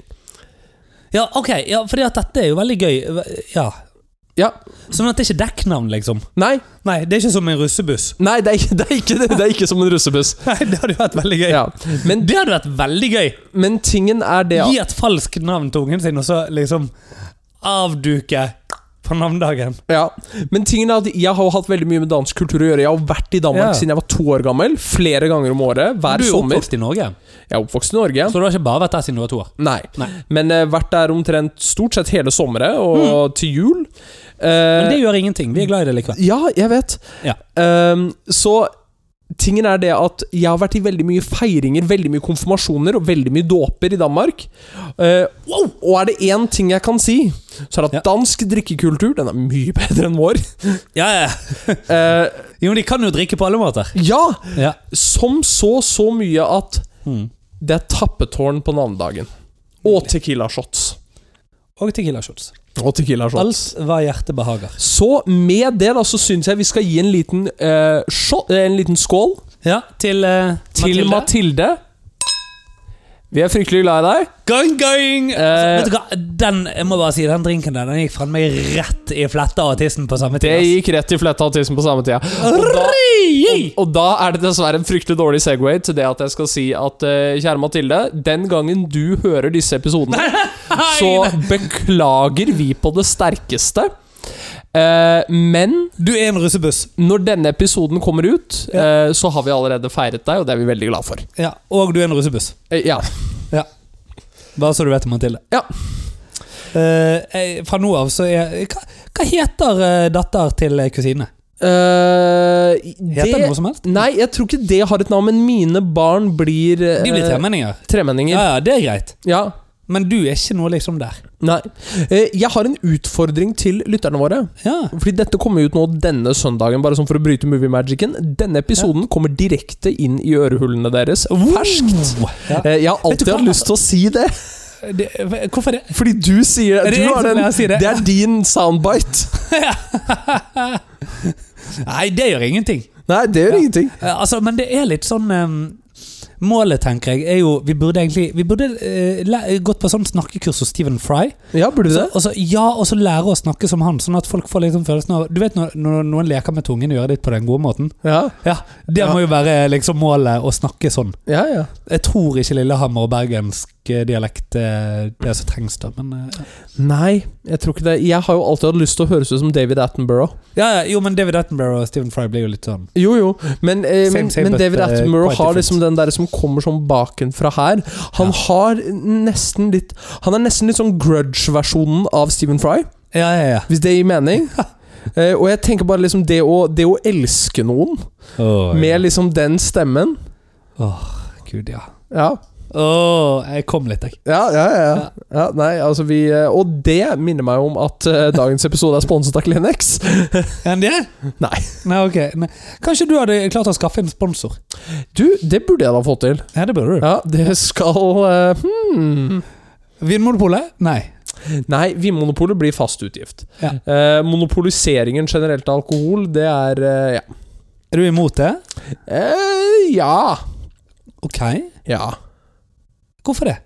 A: Ja, ok. Ja, fordi at dette er jo veldig gøy. Ja.
B: Ja.
A: Sånn at det er ikke dekknavn, liksom.
B: Nei,
A: Nei, det er ikke som en russebuss.
B: nei det, er, ikke- det, er ikke, det er ikke som en russebuss.
A: Nei, det hadde jo vært veldig gøy.
B: Ja. Men,
A: Det hadde vært veldig gøy!
B: men tingen er det at
A: Gi et falskt navn til ungen sin, og så liksom avduke på navnedagen.
B: Ja, men tingen er at Jeg har jo hatt veldig mye med dansk kultur å gjøre. Jeg har vært i Danmark
A: Ja.
B: siden jeg var to år gammel. Flere ganger om året. Hver
A: du er jo
B: sommer.
A: oppvokst i Norge,
B: Jeg er oppvokst i Norge.
A: så du har ikke bare vært der siden du var to år.
B: Nei.
A: Nei.
B: Men eh, vært der omtrent stort sett hele sommeren og til jul. Eh,
A: Mm. Men det gjør ingenting. Vi er glad i det likevel.
B: Ja, jeg vet.
A: Ja.
B: Ehm, så tingen er det at jeg har vært i veldig mye feiringer, veldig mye konfirmasjoner og veldig mye dåper i Danmark. Eh, Og er det én ting jeg kan si, så er det at dansk drikkekultur Den er mye bedre enn vår.
A: Ja, ja.
B: Eh,
A: Jo, men de kan jo drikke på alle måter.
B: ja!
A: Ja.
B: Som så så mye at
A: Mm.
B: det er tappetårn på navnedagen. Og Tequila shots.
A: Og Tequila shots.
B: Og Tequila shots.
A: Alt hva hjertet behager.
B: Så med det da, så syns jeg vi skal gi en liten, eh, shot, eh, en liten skål
A: Ja, til eh,
B: til
A: Mathilde.
B: Mathilde. Vi er fryktelig glad i deg.
A: Gang, gang!
B: Eh,
A: Altså, Vet du hva, den, jeg må bare si, den drinken der, den gikk faen meg rett i fletta og tissen på samme
B: Det
A: tid. ass.
B: gikk rett i fletta autisme på samme tida. Og da, og,
A: Oi!
B: og da er det dessverre en fryktelig dårlig Segway til det at jeg skal si at eh, kjære Mathilde, den gangen du hører disse episodene, så beklager vi på det sterkeste. Eh, men
A: Du er en russebuss.
B: når denne episoden kommer ut, eh, så har vi allerede feiret deg, og det er vi veldig glad for.
A: Ja, og du er en russebuss.
B: Eh, ja.
A: Bare så du vet det, Mathilde.
B: Ja.
A: Eh, jeg- fra nå av så er Hva, hva heter eh, datter til eh, kusine?
B: Eh,
A: Heter det,
B: det
A: noe som helst?
B: Nei, jeg tror ikke det har et navn, men mine barn blir eh,
A: De blir tremenninger.
B: tremenninger.
A: Ja, ja, det er greit.
B: Ja.
A: Men du er ikke noe liksom der.
B: Nei. Eh, Jeg har en utfordring til lytterne våre.
A: Ja.
B: Fordi dette kommer ut nå denne søndagen, bare sånn for å bryte movie magicen. Denne episoden kommer direkte inn i ørehullene deres. Ferskt!
A: Ja.
B: Eh, Jeg har
A: Vet du
B: alltid
A: hva?
B: hatt lyst til å si det,
A: Det, hvorfor det?
B: fordi du sier
A: Er det
B: du
A: jeg
B: har
A: som
B: den,
A: pleier å si det?
B: det er din soundbite.
A: Nei, det gjør ingenting.
B: Nei, det gjør
A: Ja.
B: ingenting.
A: Eh, Altså, men det er litt sånn ehm, Målet, tenker jeg, er jo Vi burde egentlig Vi burde eh, læ- gått på sånn snakkekurs hos Stephen Fry.
B: Ja, burde du det?
A: Og så, ja, og så lære å snakke som han, sånn at folk får liksom følelsen av Du vet når, når noen leker med tungen og gjør det på den gode måten?
B: Ja,
A: Ja, Det
B: Ja.
A: må jo være liksom målet, å snakke sånn.
B: ja. ja.
A: Jeg tror ikke Lillehammer og bergensk eh, dialekt eh, det er så trengs, da, men eh,
B: Nei, jeg tror ikke det. Jeg har jo alltid hatt lyst til å høres ut som David Attenborough.
A: ja, ja, Jo, men David Attenborough og Stephen Fry blir jo litt sånn
B: Jo, jo, men, eh,
A: Same, same,
B: men
A: but,
B: David
A: eh,
B: Attenborough
A: quite
B: har
A: different.
B: liksom den der som kommer sånn bakenfra her. Han
A: Ja.
B: har nesten litt Han er nesten litt sånn grudge-versjonen av Stephen Fry,
A: Ja, ja, ja.
B: hvis det gir mening. Eh, og jeg tenker bare liksom det å, det å elske noen
A: Åh, ja.
B: med liksom den stemmen
A: Gud, ja.
B: Ja,
A: Åh, jeg kom litt, jeg.
B: ja, ja. ja, ja. ja nei, altså vi eh, Og det minner meg om at eh, dagens episode er sponset av Kleenex.
A: Er han det?
B: Nei.
A: Nei, ok. Nei. Kanskje du hadde klart å skaffe en sponsor?
B: Du, det burde jeg da få til.
A: Ja, det burde du.
B: Ja, det skal eh, hmm.
A: Vinmonopolet? Nei.
B: Nei, Vinmonopolet blir fast utgift.
A: Ja.
B: Eh, monopoliseringen generelt av alkohol, det er eh, ja.
A: Er du imot det?
B: Eh, ja.
A: Ok.
B: Ja.
A: Hvorfor det?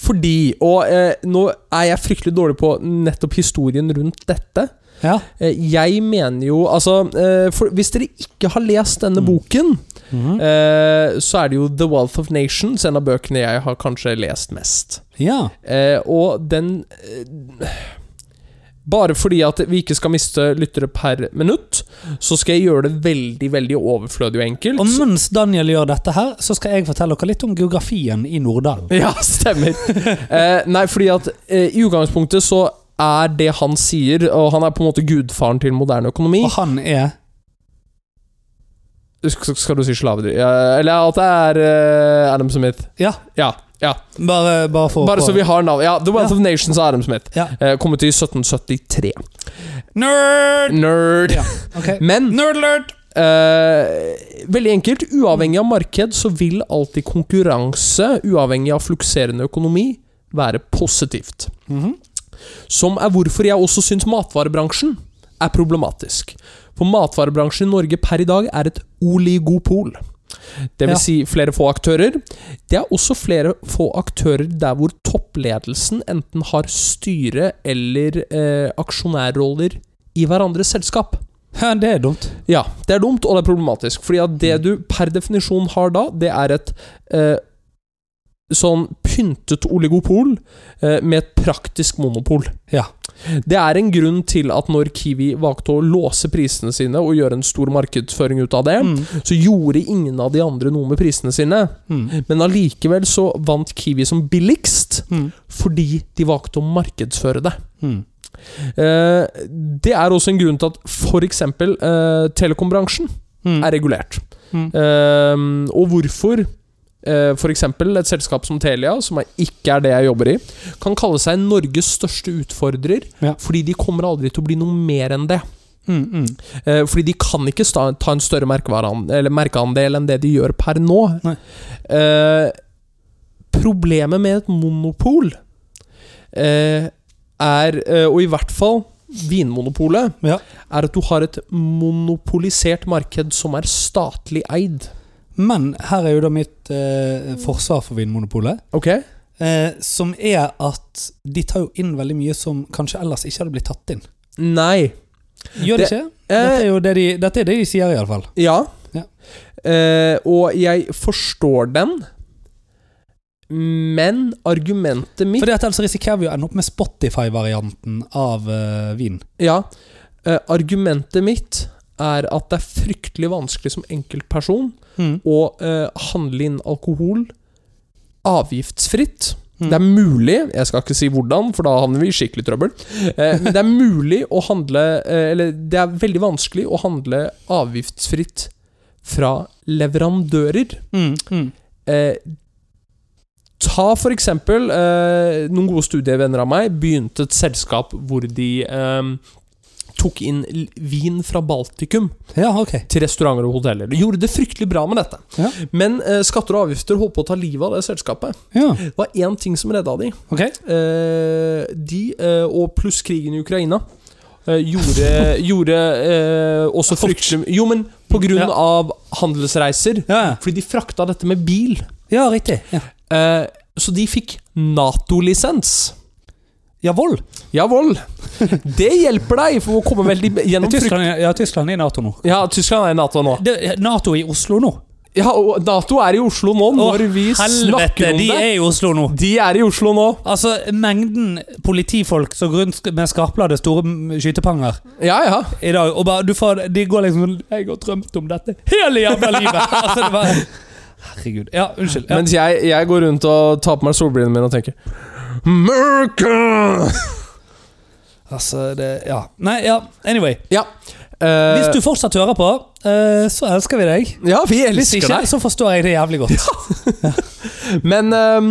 B: Fordi Og eh, nå er jeg fryktelig dårlig på nettopp historien rundt dette.
A: Ja.
B: Eh, jeg mener jo Altså, eh, for, hvis dere ikke har lest denne
A: Mm.
B: boken,
A: Mhm.
B: eh, så er det jo The Wealth of Nations, en av bøkene jeg har kanskje lest mest.
A: Ja.
B: Eh, og den eh, Bare fordi at vi ikke skal miste lyttere per minutt, så skal jeg gjøre det veldig veldig overflødig og enkelt.
A: Og mens Daniel gjør dette her, så skal jeg fortelle dere litt om geografien i Norddalen.
B: Ja, stemmer. Eh, nei, fordi at eh, i utgangspunktet så er det han sier, og han er på en måte gudfaren til moderne økonomi
A: Og han er
B: Sk- Skal du si slavedri... Ja, eller at det er eh, Adam Smith.
A: Ja,
B: Ja. ja.
A: bare, bare for
B: Bare så vi har navn. Ja, The Wealth
A: Ja.
B: of Nations av Adam Smith.
A: Ja.
B: Eh, kommet i 1773.
A: Nerd!
B: Nerd. Mm.
A: Ja, ok.
B: Men
A: Nerd alert!
B: Eh, veldig enkelt. Uavhengig av marked så vil alltid konkurranse, uavhengig av flukserende økonomi, være positivt.
A: Mhm.
B: Som er hvorfor jeg også syns matvarebransjen er problematisk. For matvarebransjen i Norge per i dag er et oligopol. Det vil
A: Ja.
B: si flere få aktører. Det er også flere få aktører der hvor toppledelsen enten har styre eller eh, aksjonærroller i hverandres selskap.
A: Ja, det er dumt.
B: Ja, det er dumt, og det er problematisk. Fordi at
A: Mm.
B: det du per definisjon har da, det er et eh, sånn pyntet oligopol eh, med et praktisk monopol.
A: Ja.
B: Det er en grunn til at når Kiwi valgte å låse prisene sine og gjøre en stor markedsføring ut av det,
A: Mm.
B: så gjorde ingen av de andre noe med prisene sine.
A: Mm.
B: Men allikevel så vant Kiwi som billigst
A: Mm.
B: fordi de valgte å markedsføre det.
A: Mm.
B: Eh, det er også en grunn til at f.eks. Eh, telekombransjen
A: Mm.
B: er regulert.
A: Mm.
B: Ehm, og hvorfor eh, for F.eks. et selskap som Telia, som er, ikke er det jeg jobber i, kan kalle seg Norges største utfordrer,
A: Ja.
B: fordi de kommer aldri til å bli noe mer enn det.
A: Mm. Mm.
B: Eh, fordi de kan ikke sta, ta en større merkevarean- eller merkeandel enn det de gjør per nå.
A: Nei.
B: Eh, problemet med et monopol eh, er, eh, og i hvert fall Vinmonopolet,
A: Ja.
B: er at du har et monopolisert marked som er statlig eid.
A: Men her er jo da mitt eh, forsvar for Vinmonopolet,
B: Ok?
A: eh, som er at de tar jo inn veldig mye som kanskje ellers ikke hadde blitt tatt inn.
B: Nei.
A: Gjør det,
B: Det-
A: ikke? Dette
B: Eh,
A: er jo det de, dette er det de sier, iallfall.
B: ja.
A: Ja.
B: Eh, og jeg forstår den, men argumentet mitt
A: For ellers risikerer vi å ende opp med Spotify-varianten av eh, vin.
B: Ja. Eh, argumentet mitt er at det er fryktelig vanskelig som enkeltperson å eh, handle inn alkohol avgiftsfritt.
A: Mm.
B: Det er mulig, jeg skal ikke si hvordan, for da havner vi i skikkelig trøbbel. Eh, men det er mulig å handle eh, Eller det er veldig vanskelig å handle avgiftsfritt fra leverandører.
A: Mm. Mm.
B: Eh, ta for eksempel eh, noen gode studievenner av meg begynte et selskap hvor de eh, tok inn l- vin fra Baltikum
A: Ja, ok.
B: til restauranter og hoteller. De gjorde det fryktelig bra med dette.
A: Ja.
B: Men eh, skatter og avgifter holdt på å ta livet av det selskapet.
A: Ja,
B: Det var én ting som redda de.
A: ok.
B: Eh, de, eh, og pluss krigen i Ukraina, eh, gjorde, gjorde eh, også fryktelig Jo, men på grunn
A: Ja.
B: av handelsreiser.
A: Ja, ja.
B: Fordi de frakta dette med bil.
A: ja riktig. Ja.
B: Eh, så de fikk Nato-lisens.
A: Jawohl.
B: Jawohl! Det hjelper deg for å komme veldig gjennom frykt.
A: Tyskland, er- ja, Tyskland er i Nato nå.
B: Ja, Tyskland er i Nato nå.
A: Det, er Nato i Oslo nå?
B: Ja, og Nato er i Oslo nå, når vi snakker om
A: de
B: det.
A: er i Oslo nå!
B: De er i Oslo nå.
A: Altså, mengden politifolk som går rundt med skarpladet store mm, skytepanger
B: Ja, ja.
A: i dag og bare, du får, De går liksom sånn 'Jeg har drømt om dette hele jævla livet!' Altså, det bare, herregud. Ja, unnskyld. Ja.
B: Mens jeg, jeg går rundt og tar på meg solbrillene mine og tenker America!
A: altså, det Ja. Nei, ja. Anyway.
B: Ja. eh,
A: Hvis du fortsatt hører på, eh, så elsker vi deg.
B: ja, vi
A: Hvis
B: elsker
A: ikke,
B: deg.
A: så forstår jeg det jævlig godt.
B: Men ehm,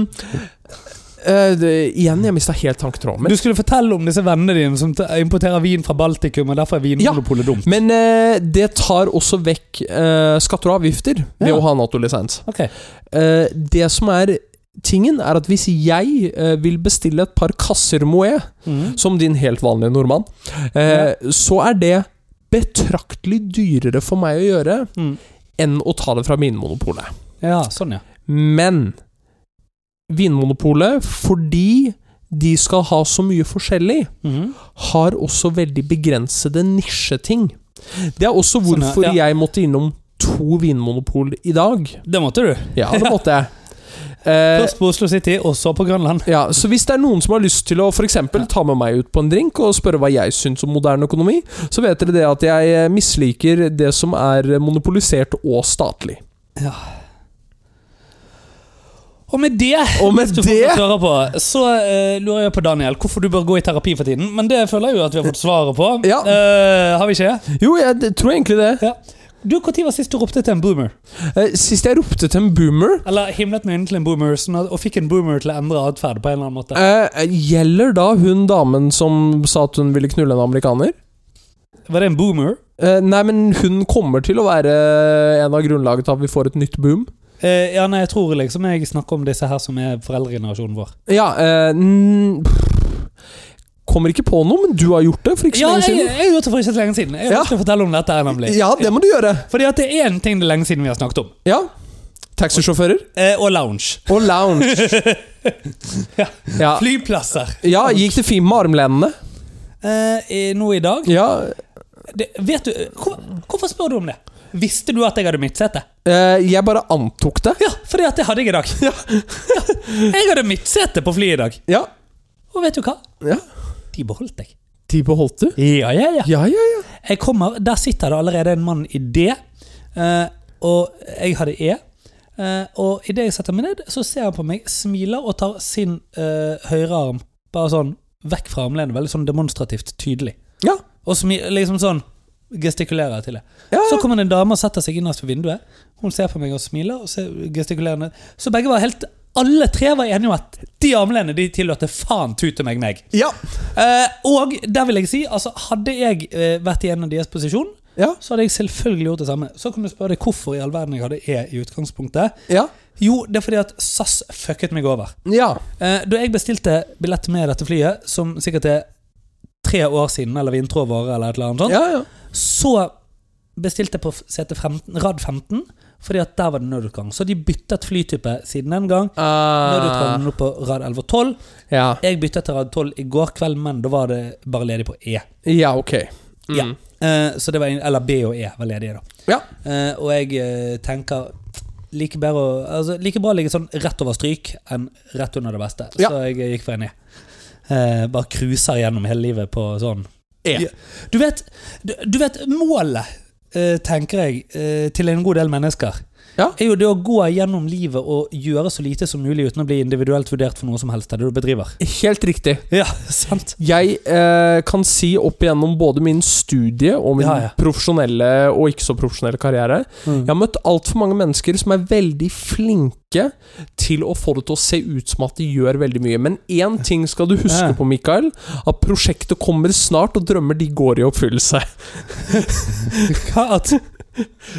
B: eh, det- Igjen, jeg mista helt tanketråden min.
A: Du skulle fortelle om disse vennene dine som t- importerer vin fra Baltikum, og derfor er Vinmonopolet dumt.
B: Men eh, det tar også vekk eh, skatter og avgifter ved
A: Ja.
B: å ha Nato-lisens.
A: Ok.
B: Eh, det som er tingen, er at hvis jeg eh, vil bestille et par kasser Moët, som din helt vanlige nordmann, eh, så er det betraktelig dyrere for meg å gjøre
A: Mm.
B: enn å ta det fra Vinmonopolet.
A: Ja, sånn, ja.
B: Men Vinmonopolet, fordi de skal ha så mye forskjellig, har også veldig begrensede nisjeting. Det er
A: Sånn,
B: også
A: ja.
B: hvorfor
A: Ja.
B: jeg måtte innom to vinmonopol i dag. Eh.
A: Det måtte du.
B: Ja, det måtte jeg. Eh,
A: Først på Oslo City, og så på Grønland.
B: ja, så hvis det er noen som har lyst til å for eksempel, ta med meg ut på en drink og spørre hva jeg syns om moderne økonomi, så vet dere det at jeg eh, misliker det som er monopolisert og statlig.
A: Og med det,
B: Og med
A: hvis du
B: det-
A: fortsatt hører på, så eh, lurer jeg på Daniel hvorfor du bør gå i terapi for tiden. Men det føler jeg jo at vi har fått svaret på.
B: Ja.
A: Eh, har vi ikke?
B: Jo, jeg d- tror egentlig det.
A: Ja. Du, Når var sist du ropte til en boomer?
B: Eh, Sist jeg ropte til en boomer
A: Eller himlet med øynene til en boomer sånn at, og fikk en boomer til å endre atferd på en eller annen måte?
B: eh, Gjelder da hun damen som sa at hun ville knulle en amerikaner?
A: Var det en boomer?
B: Eh, nei, men hun kommer til å være en av grunnlaget til at vi får et nytt boom.
A: Eh, ja, nei, jeg tror liksom jeg snakker om disse her som er foreldregenerasjonen vår.
B: Ja eh, n- Kommer ikke på noe, men du har gjort det for ikke så
A: Ja,
B: lenge
A: jeg,
B: siden.
A: jeg gjorde det for ikke så lenge siden. Jeg
B: Ja.
A: skal fortelle om dette her, nemlig.
B: Ja, det må du gjøre.
A: Fordi at det er en ting det er lenge siden vi har snakket om.
B: Ja. Taxisjåfører
A: Eh, og lounge.
B: og lounge.
A: Ja.
B: ja.
A: Flyplasser.
B: ja, gikk det fint med armlenene?
A: Eh, i- nå i dag
B: Ja.
A: det, Vet du hvor, Hvorfor spør du om det? Visste du at jeg hadde midtsete?
B: eh, jeg bare antok det.
A: Ja, fordi at det hadde jeg i dag. Ja. Jeg hadde midtsete på flyet i dag.
B: Ja.
A: Og vet du hva?
B: ja.
A: De beholdt deg.
B: De beholdt du?
A: Ja, ja, ja.
B: Ja, ja, ja.
A: Jeg kommer, Der sitter det allerede en mann i D, eh, og jeg hadde E. Eh, og idet jeg setter meg ned, så ser han på meg, smiler og tar sin eh, høyre arm bare sånn vekk fra armlenet. Veldig sånn demonstrativt tydelig.
B: Ja.
A: Og smi, liksom sånn gestikulerer til det.
B: Ja,
A: Så
B: ja.
A: kommer det en dame og setter seg innerst ved vinduet. Hun ser på meg og smiler. og ser gestikulerende. Så begge var helt alle tre var enige om at de armlenene de tilløter faen tute meg meg.
B: Ja.
A: Eh, og der vil jeg si, altså hadde jeg eh, vært i en av deres posisjon,
B: Ja.
A: så hadde jeg selvfølgelig gjort det samme. Så kan du spørre deg hvorfor i all verden jeg hadde E i utgangspunktet.
B: ja.
A: Jo, det er fordi at SAS fucket meg over.
B: ja.
A: Eh, da jeg bestilte billett med dette flyet, som sikkert er tre år siden, eller vinterover, eller et eller annet sånt,
B: ja, ja.
A: så bestilte jeg på sete 15, rad 15, fordi at der var det nødutgang. Så de byttet flytype siden den gang.
B: Ah,
A: Nødutgangen nå på rad 11 og 12.
B: ja.
A: Jeg byttet til rad 12 i går kveld, men da var det bare ledig på E.
B: ja, ok. Mm.
A: Ja. Eh, så det var, en- eller B og E var ledige, da.
B: Ja.
A: Eh, og jeg eh, tenker like, bedre, å- altså, like bra å ligge sånn rett over stryk enn rett under det beste.
B: Ja.
A: Så jeg gikk for en E. Eh, bare cruiser gjennom hele livet på sånn.
B: E.
A: Ja. Du vet, du, du vet målet, eh, tenker jeg, eh, til en god del mennesker,
B: Ja.
A: er jo det å gå gjennom livet og gjøre så lite som mulig uten å bli individuelt vurdert for noe som helst av det du bedriver.
B: Helt riktig.
A: Ja, sant?
B: Jeg eh, kan si opp igjennom både min studie og min
A: Ja, ja.
B: profesjonelle og ikke så profesjonelle karriere
A: Mm.
B: Jeg har møtt altfor mange mennesker som er veldig flinke til å få det til å se ut som at de gjør veldig mye. Men én ting skal du huske
A: Ja.
B: på, Mikael. At prosjektet kommer snart, og drømmer de går i oppfyllelse.
A: Hva at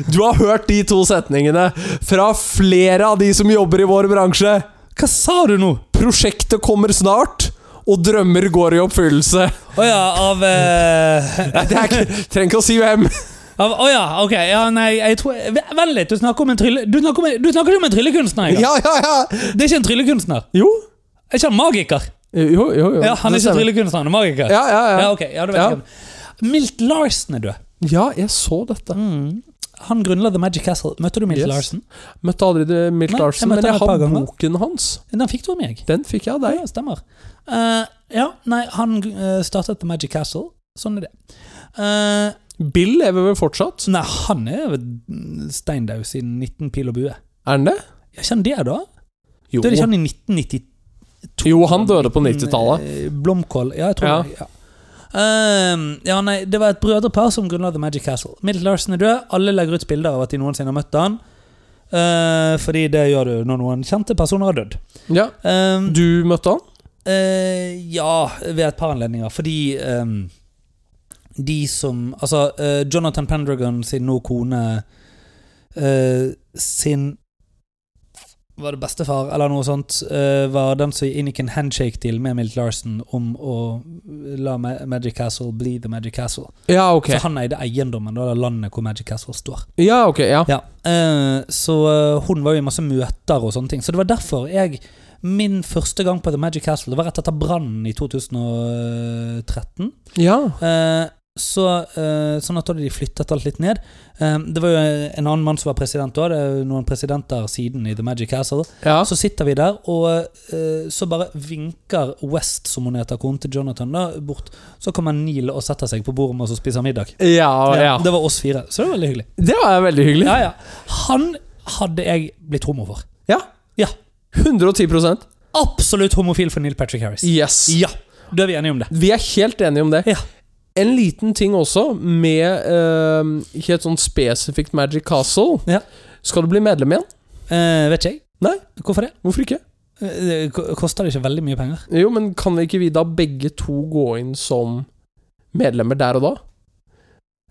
B: Du har hørt de to setningene fra flere av de som jobber i vår bransje.
A: Hva sa du nå?
B: Prosjektet kommer snart, og drømmer går i oppfyllelse.
A: Å ja, av eh,
B: Nei, det er ikke, trenger ikke å si hvem.
A: Av, å ja, ok. Ja, nei, jeg tror v- Vent litt, du snakker om en trylle... Du snakker om en, du snakker om en tryllekunstner? Ikke?
B: Ja, ja, ja.
A: Det er ikke en tryllekunstner.
B: Jo.
A: Er ikke han magiker?
B: Jo, jo, jo.
A: Ja, Han er
B: Det
A: ikke
B: stemmer.
A: tryllekunstner, han er magiker.
B: Ja, ja, ja.
A: ok. Ja, du vet
B: Ja.
A: ikke. hvem. Milt Larsen er død.
B: Ja, jeg så dette.
A: Han grunnla The Magic Castle. Møtte du Milt
B: Mm. Yes.
A: Larsen?
B: Møtte aldri det Milt
A: Nei, jeg
B: Larsen,
A: møtte
B: men
A: han
B: jeg
A: et par
B: har
A: ganger.
B: boken hans.
A: Den fikk du av meg.
B: Den fikk jeg av deg.
A: Ja, stemmer. Eh, ja, nei, han eh, startet The Magic Castle. Sånn er det. Eh,
B: Bill lever vel fortsatt?
A: nei, han er jo steindau siden 19 pil og bue.
B: Er han det?
A: Ja, Kjenn det, da.
B: Jo.
A: Da er liksom- det ikke han i 1992.
B: jo, han døde på 90-tallet.
A: Eh, Blomkål. Ja, jeg tror
B: Ja.
A: det. Ja. Ehm, ja, nei, det var et brødrepar som grunnla The Magic Castle. Milt Larsen er død. Alle legger ut bilder av at de noensinne har møtt han. Eh, fordi det gjør du når noen kjente personer har dødd.
B: Ja.
A: Ehm,
B: Du møtte han?
A: eh, ja, ved et par anledninger. Fordi ehm, de som Altså, eh, Jonathan Pendragon sin nå kone eh, sin var det bestefar, eller noe sånt, eh, var den som inngikk en handshake til med Milt Larsen om å la Ma Magic Castle bli The Magic Castle.
B: Ja, ok.
A: Så han eide eiendommen, da, eller landet hvor Magic Castle står.
B: Ja, ok, ja.
A: Ja, eh, Så eh, hun var jo i masse møter og sånne ting. Så det var derfor jeg Min første gang på The Magic Castle Det var rett etter brannen i 2013.
B: Ja.
A: Eh, Så, eh, sånn at da hadde de flyttet alt litt ned. Eh, det var jo en annen mann som var president da. Det er jo noen presidenter siden i The Magic Castle.
B: Ja.
A: Så sitter vi der, og eh, så bare vinker West, som hun heter, konen til Jonathan, da, bort. Så kommer Neil og setter seg på bordet med oss og spiser middag.
B: Ja, ja.
A: Det var oss fire, så det var veldig hyggelig.
B: Det var veldig hyggelig.
A: Ja, ja. Han hadde jeg blitt homo for.
B: Ja.
A: Ja.
B: 110
A: Absolutt homofil for Neil Patrick Harris.
B: Yes.
A: Ja, da er vi enige om det.
B: Vi er helt enige om det.
A: Ja.
B: En liten ting også, med eh, ikke et sånn spesifikt Magic Castle.
A: Ja.
B: Skal du bli medlem igjen?
A: Eh, vet ikke jeg.
B: Nei.
A: Hvorfor det?
B: Hvorfor ikke?
A: Eh, Det ko- koster det ikke veldig mye penger?
B: Jo, men kan vi ikke vi da begge to gå inn som medlemmer der og da?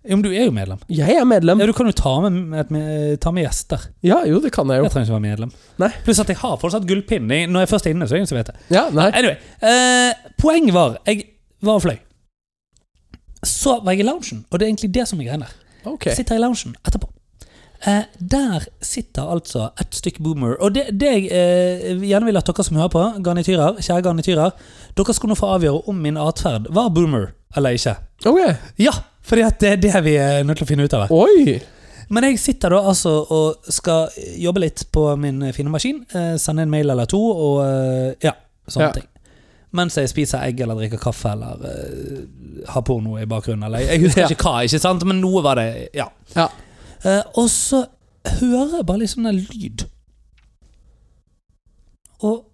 A: Jo, men du er jo medlem.
B: Jeg er medlem.
A: Ja, du kan jo ta med, et, med, ta med gjester.
B: Ja, jo, det kan jeg jo.
A: Jeg trenger ikke være medlem.
B: Nei.
A: Pluss at jeg har fortsatt gullpinn. Jeg- Når jeg først er inne, så er det ingen som vet det.
B: Ja, nei.
A: Anyway, eh, poeng var Jeg var og fløy. Så var jeg i loungen, og det er egentlig det som er greia der.
B: Ok.
A: Sitter i loungen etterpå. Eh, der sitter altså et stykk boomer. Og det, det jeg eh, gjerne vil at dere som hører på, garnityrer, kjære garnityrer, dere skal nå få avgjøre om min atferd var boomer eller ikke.
B: Ok.
A: Ja, fordi at det er det vi er nødt til å finne ut av. her.
B: Oi!
A: Men jeg sitter da altså og skal jobbe litt på min fine maskin. Eh, sende en mail eller to og eh, ja, sånne
B: Ja.
A: ting. Mens jeg spiser egg eller drikker kaffe eller eh, har porno i bakgrunnen. Eller, jeg husker
B: Ja.
A: ikke hva, ikke sant? men noe var det. ja.
B: Ja.
A: Eh, og så hører jeg bare litt sånn en lyd. Og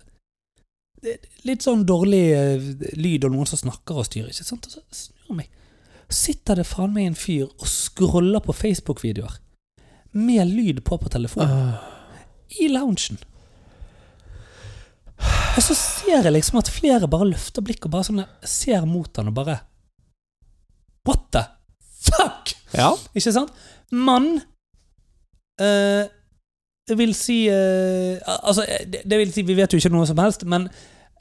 A: det er litt sånn dårlig eh, lyd og noen som snakker og styrer, ikke sant? Og så snur jeg meg. Sitter det faen meg en fyr og scroller på Facebook-videoer med lyd på på telefonen i loungen. Og så ser jeg liksom at flere bare løfter blikket og bare sånn ser mot han og bare What the fuck?!
B: Ja.
A: Ikke sant? Mann eh, vil si eh, al- Altså, eh, det, det vil si Vi vet jo ikke noe som helst, men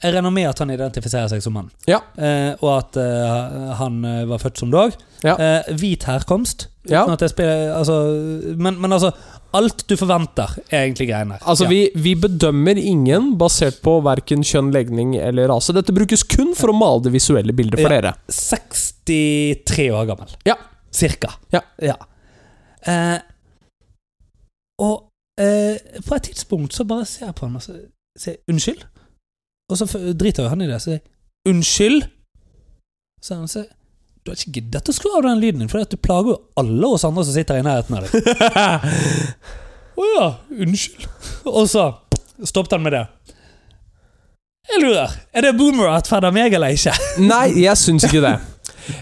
A: jeg regner med at han identifiserer seg som mann.
B: Ja.
A: Eh, og at eh, han eh, var født som dag.
B: Ja.
A: Eh, hvit herkomst.
B: Ja.
A: Sånn at jeg spiller, altså, men, men altså Alt du forventer, er egentlig greiene her.
B: Altså,
A: Ja.
B: vi, vi bedømmer ingen basert på verken kjønn, legning eller rase. Dette brukes kun for å male det visuelle bildet for
A: Ja.
B: dere.
A: 63 år gammel.
B: Ja.
A: Cirka.
B: Ja.
A: Eh, og eh, på et tidspunkt så bare ser jeg på han og så sier jeg, 'unnskyld', og så f- driter jo han i det. Så sier jeg 'unnskyld', så han sier 'du har ikke giddet å skru av den lyden din, for du plager jo alle oss andre som sitter i nærheten av deg'. Å ja, unnskyld. Og så stoppet han med det. Jeg lurer, er det boomer-atferd av meg eller ikke?
B: Nei, jeg syns ikke det.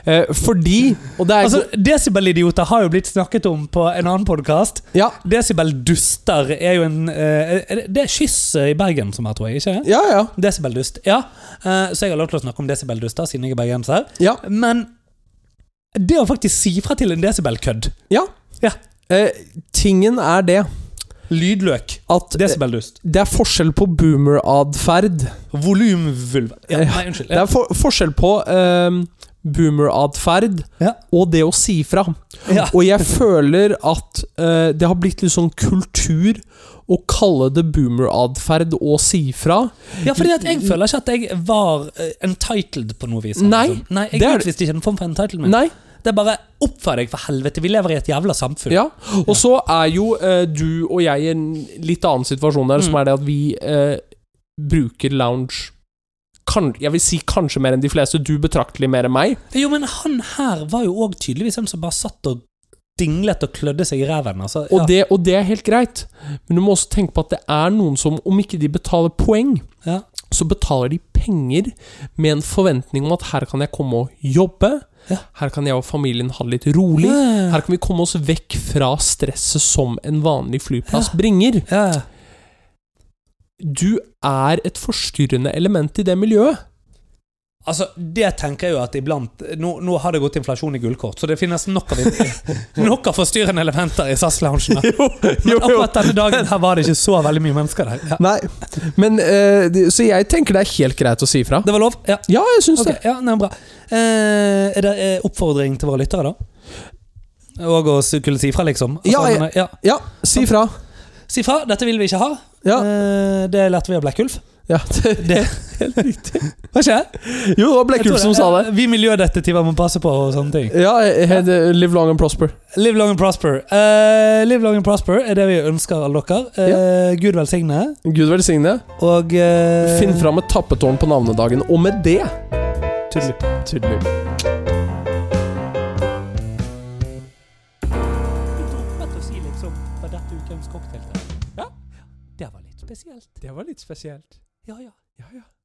B: Eh, fordi Og det er
A: Altså, Desibel-idioter har jo blitt snakket om på en annen podkast.
B: ja,
A: Desibel-duster er jo en eh, er det- Det er Kyss i Bergen som er, tror jeg. ikke?
B: ja, ja.
A: Desibel-dust. Ja. Eh, så jeg har lov til å snakke om desibel-duster, siden jeg er bergenser.
B: ja.
A: Men det å faktisk si fra til en desibel-kødd
B: ja.
A: Ja.
B: Eh, tingen er det
A: Lydløk.
B: at eh,
A: Desibel-dust.
B: det er forskjell på boomer-atferd.
A: Volumvulva. Ja,
B: Ja.
A: nei, unnskyld.
B: Det
A: Ja.
B: er for forskjell på eh, boomer-atferd
A: Ja.
B: og det å si fra.
A: Ja.
B: Og jeg føler at eh, det har blitt litt sånn kultur å kalle det boomer-atferd å si fra.
A: ja, fordi at jeg føler ikke at jeg var eh, entitled på noe vis. eller
B: Nei,
A: noe sånt. Nei jeg
B: det er-
A: utvisste ikke en form for entitlement.
B: Nei.
A: Det er bare oppfør deg, for helvete. Vi lever i et jævla samfunn.
B: Ja. Og så er jo eh, du og jeg i en litt annen situasjon der,
A: Mm.
B: som er det at vi eh, bruker lounge kan, Jeg vil si kanskje mer enn de fleste. Du betraktelig mer enn meg.
A: Jo, men han her var jo òg tydeligvis en som bare satt og dinglet og klødde seg i ræven. Altså,
B: Og,
A: ja.
B: det, og det er helt greit, men du må også tenke på at det er noen som, om ikke de betaler poeng,
A: Ja.
B: så betaler de penger med en forventning om at her kan jeg komme og jobbe,
A: Ja.
B: her kan jeg og familien ha det litt rolig,
A: Ja.
B: her kan vi komme oss vekk fra stresset som en vanlig flyplass bringer.
A: Ja.
B: Du er et forstyrrende element i det miljøet.
A: Altså, det tenker jeg jo at iblant Nå, nå har det gått inflasjon i gullkort, så det finnes nok av, nok av forstyrrende elementer i SAS-loungen.
B: Jo,
A: Men akkurat denne dagen her var det ikke så veldig mye mennesker der. Ja.
B: Nei, men eh, de- Så jeg tenker det er helt greit å si fra.
A: Det var lov? Ja.
B: Ja, jeg syns
A: Ok, ja nei, bra. Eh, er det eh, oppfordring til våre lyttere, da? Og å skulle si fra, liksom? Altså,
B: Ja, jeg-
A: men, ja.
B: det. Ja, si fra.
A: Si fra, dette vil vi ikke ha.
B: Ja.
A: Eh, det lærte vi av Blekkulf.
B: Ja, det, det er helt riktig.
A: Hva skjer?
B: Jo, det var Blekkulf som sa det.
A: Vi miljødetektiver må passe på og sånne ting.
B: Ja, jeg- jeg- det- Live long and prosper.
A: Live long and prosper. Eh, live long and prosper er det vi ønsker alle dere. Eh, Gud velsigne.
B: Gud velsigne.
A: Og eh,
B: Finn fram et tappetårn på navnedagen. Og med det
A: Tudelu.
B: Tudelu.
A: Vi droppet å si liksom Var dette ukens cocktailtreff? Ja. Det var litt spesielt.
B: Det var litt spesielt.
A: Ja, ja.
B: Ja, ja.